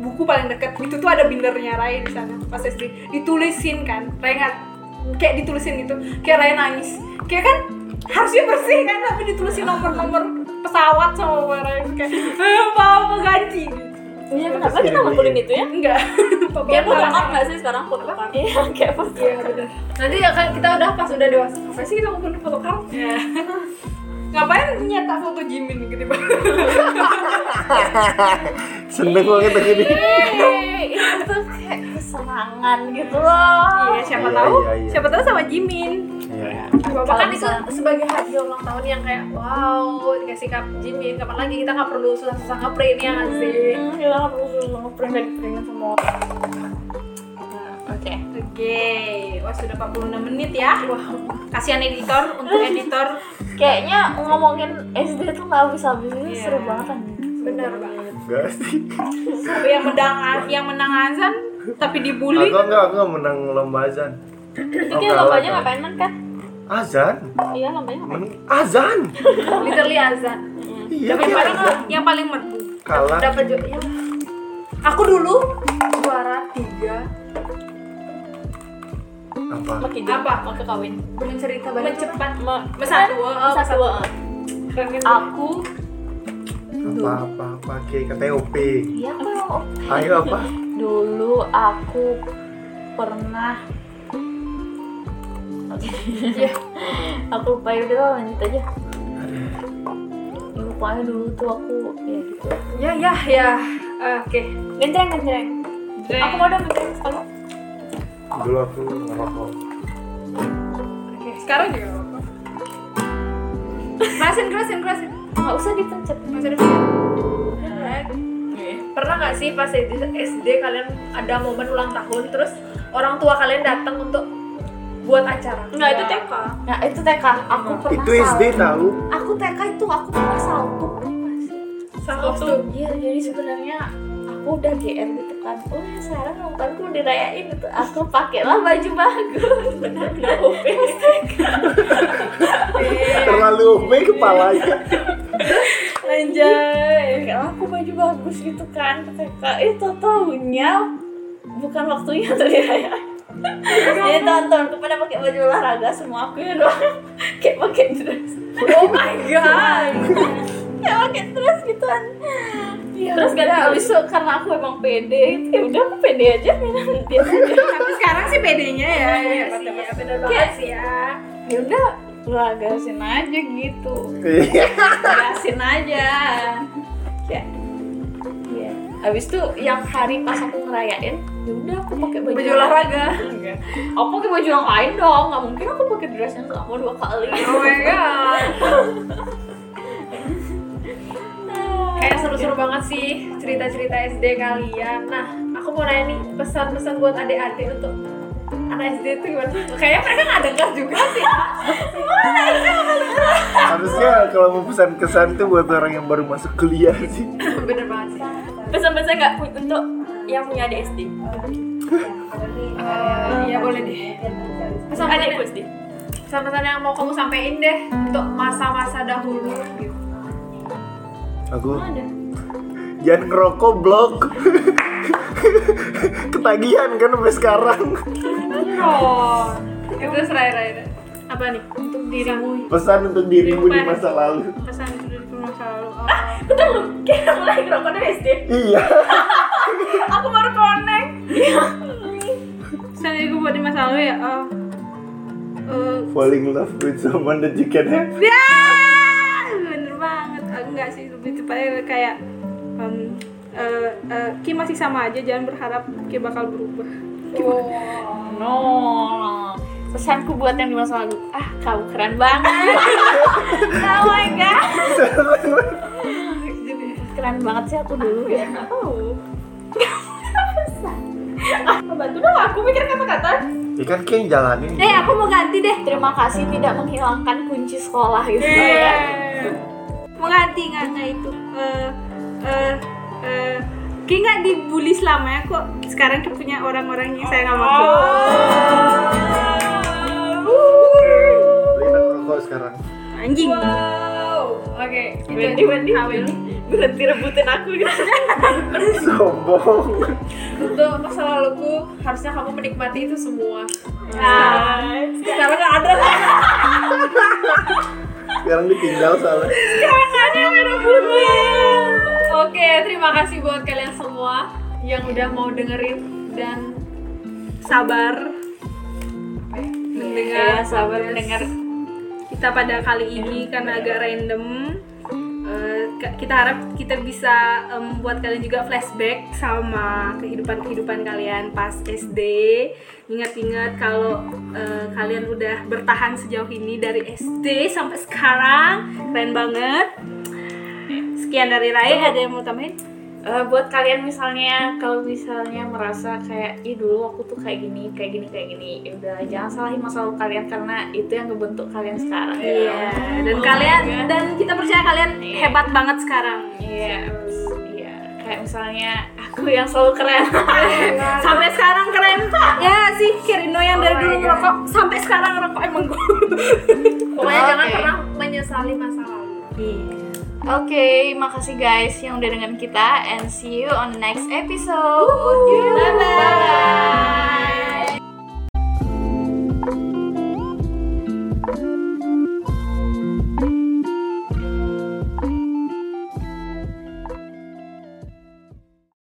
[SPEAKER 2] buku paling deket itu tuh ada bindernya Rai di sana pas SD ditulisin kan Rai nggak kayak ditulisin gitu kayak Rai nangis kayak kan harusnya bersih kan tapi ditulisin nomor-nomor pesawat sama Papa Rai kayak eh, mau ganti
[SPEAKER 4] Iya, kenapa kita ngumpulin itu ya?
[SPEAKER 2] Enggak.
[SPEAKER 4] Kayak foto card nggak sih sekarang foto card? Iya, kayak foto
[SPEAKER 7] Iya benar. Nanti ya kan kita udah pas udah dewasa. Apa sih kita ngumpulin foto kamu?
[SPEAKER 4] Iya.
[SPEAKER 2] Ngapain nyata foto Jimin gitu Bang?
[SPEAKER 3] Seneng banget aku ini.
[SPEAKER 6] Hei, itu tuh kayak kesenangan gitu loh.
[SPEAKER 2] Iya, siapa
[SPEAKER 3] Iya,
[SPEAKER 2] tahu.
[SPEAKER 3] iya, iya.
[SPEAKER 2] Siapa tahu sama Jimin.
[SPEAKER 3] Iya.
[SPEAKER 7] Bapak kan itu sebagai hadiah ulang tahun yang kayak wow dikasih kap Jimin. Kapan lagi kita nggak perlu susah-susah ngeprint ya nggak sih?
[SPEAKER 4] Hmm, gila nggak perlu suruh ngeprint dan diprintin semua orang. Oke.
[SPEAKER 2] Oke, wah sudah 46 menit ya. Wah, kasihan editor untuk editor.
[SPEAKER 6] Kayaknya ngomongin SD tuh nggak bisa habis ini
[SPEAKER 2] Iya.
[SPEAKER 6] seru banget kan.
[SPEAKER 7] Benar banget.
[SPEAKER 3] Enggak sih.
[SPEAKER 2] Tapi yang menang yang menang azan tapi dibully.
[SPEAKER 3] Aku enggak, aku enggak menang lomba azan.
[SPEAKER 4] Itu kayak lombanya ngapain man kan?
[SPEAKER 3] Azan?
[SPEAKER 4] Iya lombanya ngapain?
[SPEAKER 3] Men- azan.
[SPEAKER 7] Literally azan.
[SPEAKER 3] Iya.
[SPEAKER 2] Yang
[SPEAKER 3] kayak
[SPEAKER 2] paling
[SPEAKER 3] azan.
[SPEAKER 2] yang paling merdu.
[SPEAKER 3] Kalah.
[SPEAKER 7] Dapat juga ya.
[SPEAKER 2] Aku dulu
[SPEAKER 7] juara tiga
[SPEAKER 3] Apa?
[SPEAKER 4] Makin
[SPEAKER 2] Apa?
[SPEAKER 4] Mau kawin.
[SPEAKER 7] bercerita banyak
[SPEAKER 2] mencepat
[SPEAKER 4] Me-
[SPEAKER 2] Besar dua,
[SPEAKER 4] Besar
[SPEAKER 2] besar
[SPEAKER 4] dua.
[SPEAKER 2] aku
[SPEAKER 3] Apa apa apa Kayak KTOP.
[SPEAKER 6] Iya kok.
[SPEAKER 3] Ayo apa?
[SPEAKER 6] Dulu aku pernah Oke. aku lupa ya udah lah, lanjut aja. Ya, pokoknya dulu tuh aku ya gitu.
[SPEAKER 7] ya ya ya Eh, oke
[SPEAKER 4] Genjreng, genjreng. Aku mau dong genjreng sekali.
[SPEAKER 3] Dulu aku ngerokok.
[SPEAKER 2] Oke, sekarang juga nggak apa-apa.
[SPEAKER 7] kerasin kerasin kerasin
[SPEAKER 6] Nggak usah dipencet.
[SPEAKER 7] Masih ada Pernah nggak sih pas SD, SD kalian ada momen ulang tahun terus orang tua kalian datang untuk buat acara?
[SPEAKER 4] Enggak, itu TK.
[SPEAKER 6] Nah itu TK. Aku pernah
[SPEAKER 3] Itu SD
[SPEAKER 6] salto.
[SPEAKER 3] tahu.
[SPEAKER 6] Aku TK itu aku pernah salto.
[SPEAKER 7] Sama waktu
[SPEAKER 6] Iya, jadi sebenarnya aku udah GR gitu kan. Oh, ya, sekarang nontonku dirayain itu. Aku pakailah baju bagus. Benar-benar OP.
[SPEAKER 3] Terlalu OP kepalanya.
[SPEAKER 6] Anjay. Pakailah aku baju bagus gitu kan. ke TK itu tahunya bukan waktunya untuk dirayain.
[SPEAKER 4] Iya,
[SPEAKER 6] Jadi tonton aku pada pakai baju olahraga semua aku ya doang kayak pakai dress.
[SPEAKER 7] Oh my god.
[SPEAKER 6] ya pakai terus gitu kan terus gak ada habis tuh karena aku emang pede gitu ya udah aku pede aja minum dia
[SPEAKER 2] Tapi sekarang sih bedanya ya.
[SPEAKER 7] Iya,
[SPEAKER 2] hebat, hebat.
[SPEAKER 7] bener banget sih ya.
[SPEAKER 6] ya udah gelagasin aja gitu
[SPEAKER 3] Iya.
[SPEAKER 6] gelagasin aja ya ya habis itu yang hari pas aku ngerayain ya udah aku pakai baju,
[SPEAKER 7] Baju olahraga.
[SPEAKER 6] Enggak. aku pakai baju yang lain dong nggak mungkin aku pakai dress yang sama dua kali
[SPEAKER 7] Oh my god. Kayak seru-seru banget sih cerita-cerita SD kalian. Nah, aku mau nanya nih pesan-pesan buat adik-adik untuk anak SD itu gimana? Kayaknya mereka nggak dengar juga sih.
[SPEAKER 3] Harusnya kalau mau pesan kesan tuh buat orang yang baru masuk kuliah sih.
[SPEAKER 7] Bener banget sih.
[SPEAKER 4] Pesan-pesan nggak pu- untuk yang punya adik SD?
[SPEAKER 2] Iya, boleh deh.
[SPEAKER 7] Pesan-pesan
[SPEAKER 4] Adikku SD.
[SPEAKER 7] pesan-pesan yang mau kamu sampein deh untuk masa-masa dahulu gitu.
[SPEAKER 3] Aku jangan ngerokok blok. Ketagihan kan sampai sekarang.
[SPEAKER 7] Oh, itu serai rai Apa nih? Untuk dirimu
[SPEAKER 3] Pesan untuk dirimu di masa lalu.
[SPEAKER 7] pesan untuk masa lalu.
[SPEAKER 2] Ah.
[SPEAKER 4] Kayak mulai ngerokok dari SD.
[SPEAKER 3] Iya.
[SPEAKER 2] Aku baru connect. Saya gue buat di masa lalu ya. Oh. Eh,
[SPEAKER 3] Falling in love with someone that you can have.
[SPEAKER 2] ya, bener banget. Aku nggak sih lebih tepatnya kayak em, eh, eh, Ki masih sama aja, jangan berharap Ki bakal berubah.
[SPEAKER 4] No. Pesanku buat yang di masa lalu. Ah, kau keren banget.
[SPEAKER 6] oh my god keren banget sih aku dulu ya
[SPEAKER 2] Bantu dong aku mikir kata-kata.
[SPEAKER 3] Ya kan kayak jalanin.
[SPEAKER 6] Eh aku mau ganti deh. Terima kasih tidak menghilangkan kunci sekolah gitu.
[SPEAKER 2] Menganti nggak itu. Eh, eh, eh, Ki nggak dibully selamanya kok. Sekarang Ki punya orang-orang yang sayang sama Ki.
[SPEAKER 7] Oh.
[SPEAKER 3] Beliin aku rokok sekarang.
[SPEAKER 2] Anjing.
[SPEAKER 7] Oke,
[SPEAKER 4] Wendy, Wendy, Wendy. Berhenti rebutin aku gitu.
[SPEAKER 3] Sombong.
[SPEAKER 7] untuk masa laluku harusnya kamu menikmati itu semua.
[SPEAKER 4] Ah,
[SPEAKER 2] Sekarang nggak ada lah.
[SPEAKER 3] Sekarang ditinggal soalnya.
[SPEAKER 2] Tangannya merah putih. Oke, terima kasih buat kalian semua yang udah mau dengerin dan sabar mendengar Iya, sabar mendengar kita pada kali ini karena agak random. Eh, ka- kita harap kita bisa eh, membuat kalian juga flashback sama kehidupan-kehidupan kalian pas SD. Ingat-ingat kalau eh, kalian udah bertahan sejauh ini dari SD sampai sekarang, keren banget. Sekian dari Raya, ada yang mau tambahin?
[SPEAKER 6] Eh, buat kalian misalnya kalau misalnya merasa kayak ih dulu aku tuh kayak gini kayak gini kayak gini ya udah jangan salahin masa lalu kalian karena itu yang ngebentuk kalian sekarang ya.
[SPEAKER 2] Iya, dan
[SPEAKER 6] Oh
[SPEAKER 2] kalian dan kita percaya kalian hebat banget sekarang.
[SPEAKER 6] iya iya kayak misalnya aku yang selalu keren
[SPEAKER 2] Sampai sekarang keren. Ya sih, Kirino yang dari dulu ngerokok sampai sekarang ngerokok emang
[SPEAKER 6] pokoknya jangan pernah
[SPEAKER 2] menyesali masa lalu.
[SPEAKER 6] Oke, makasih guys yang udah dengan kita and see you on the next episode. Bye bye.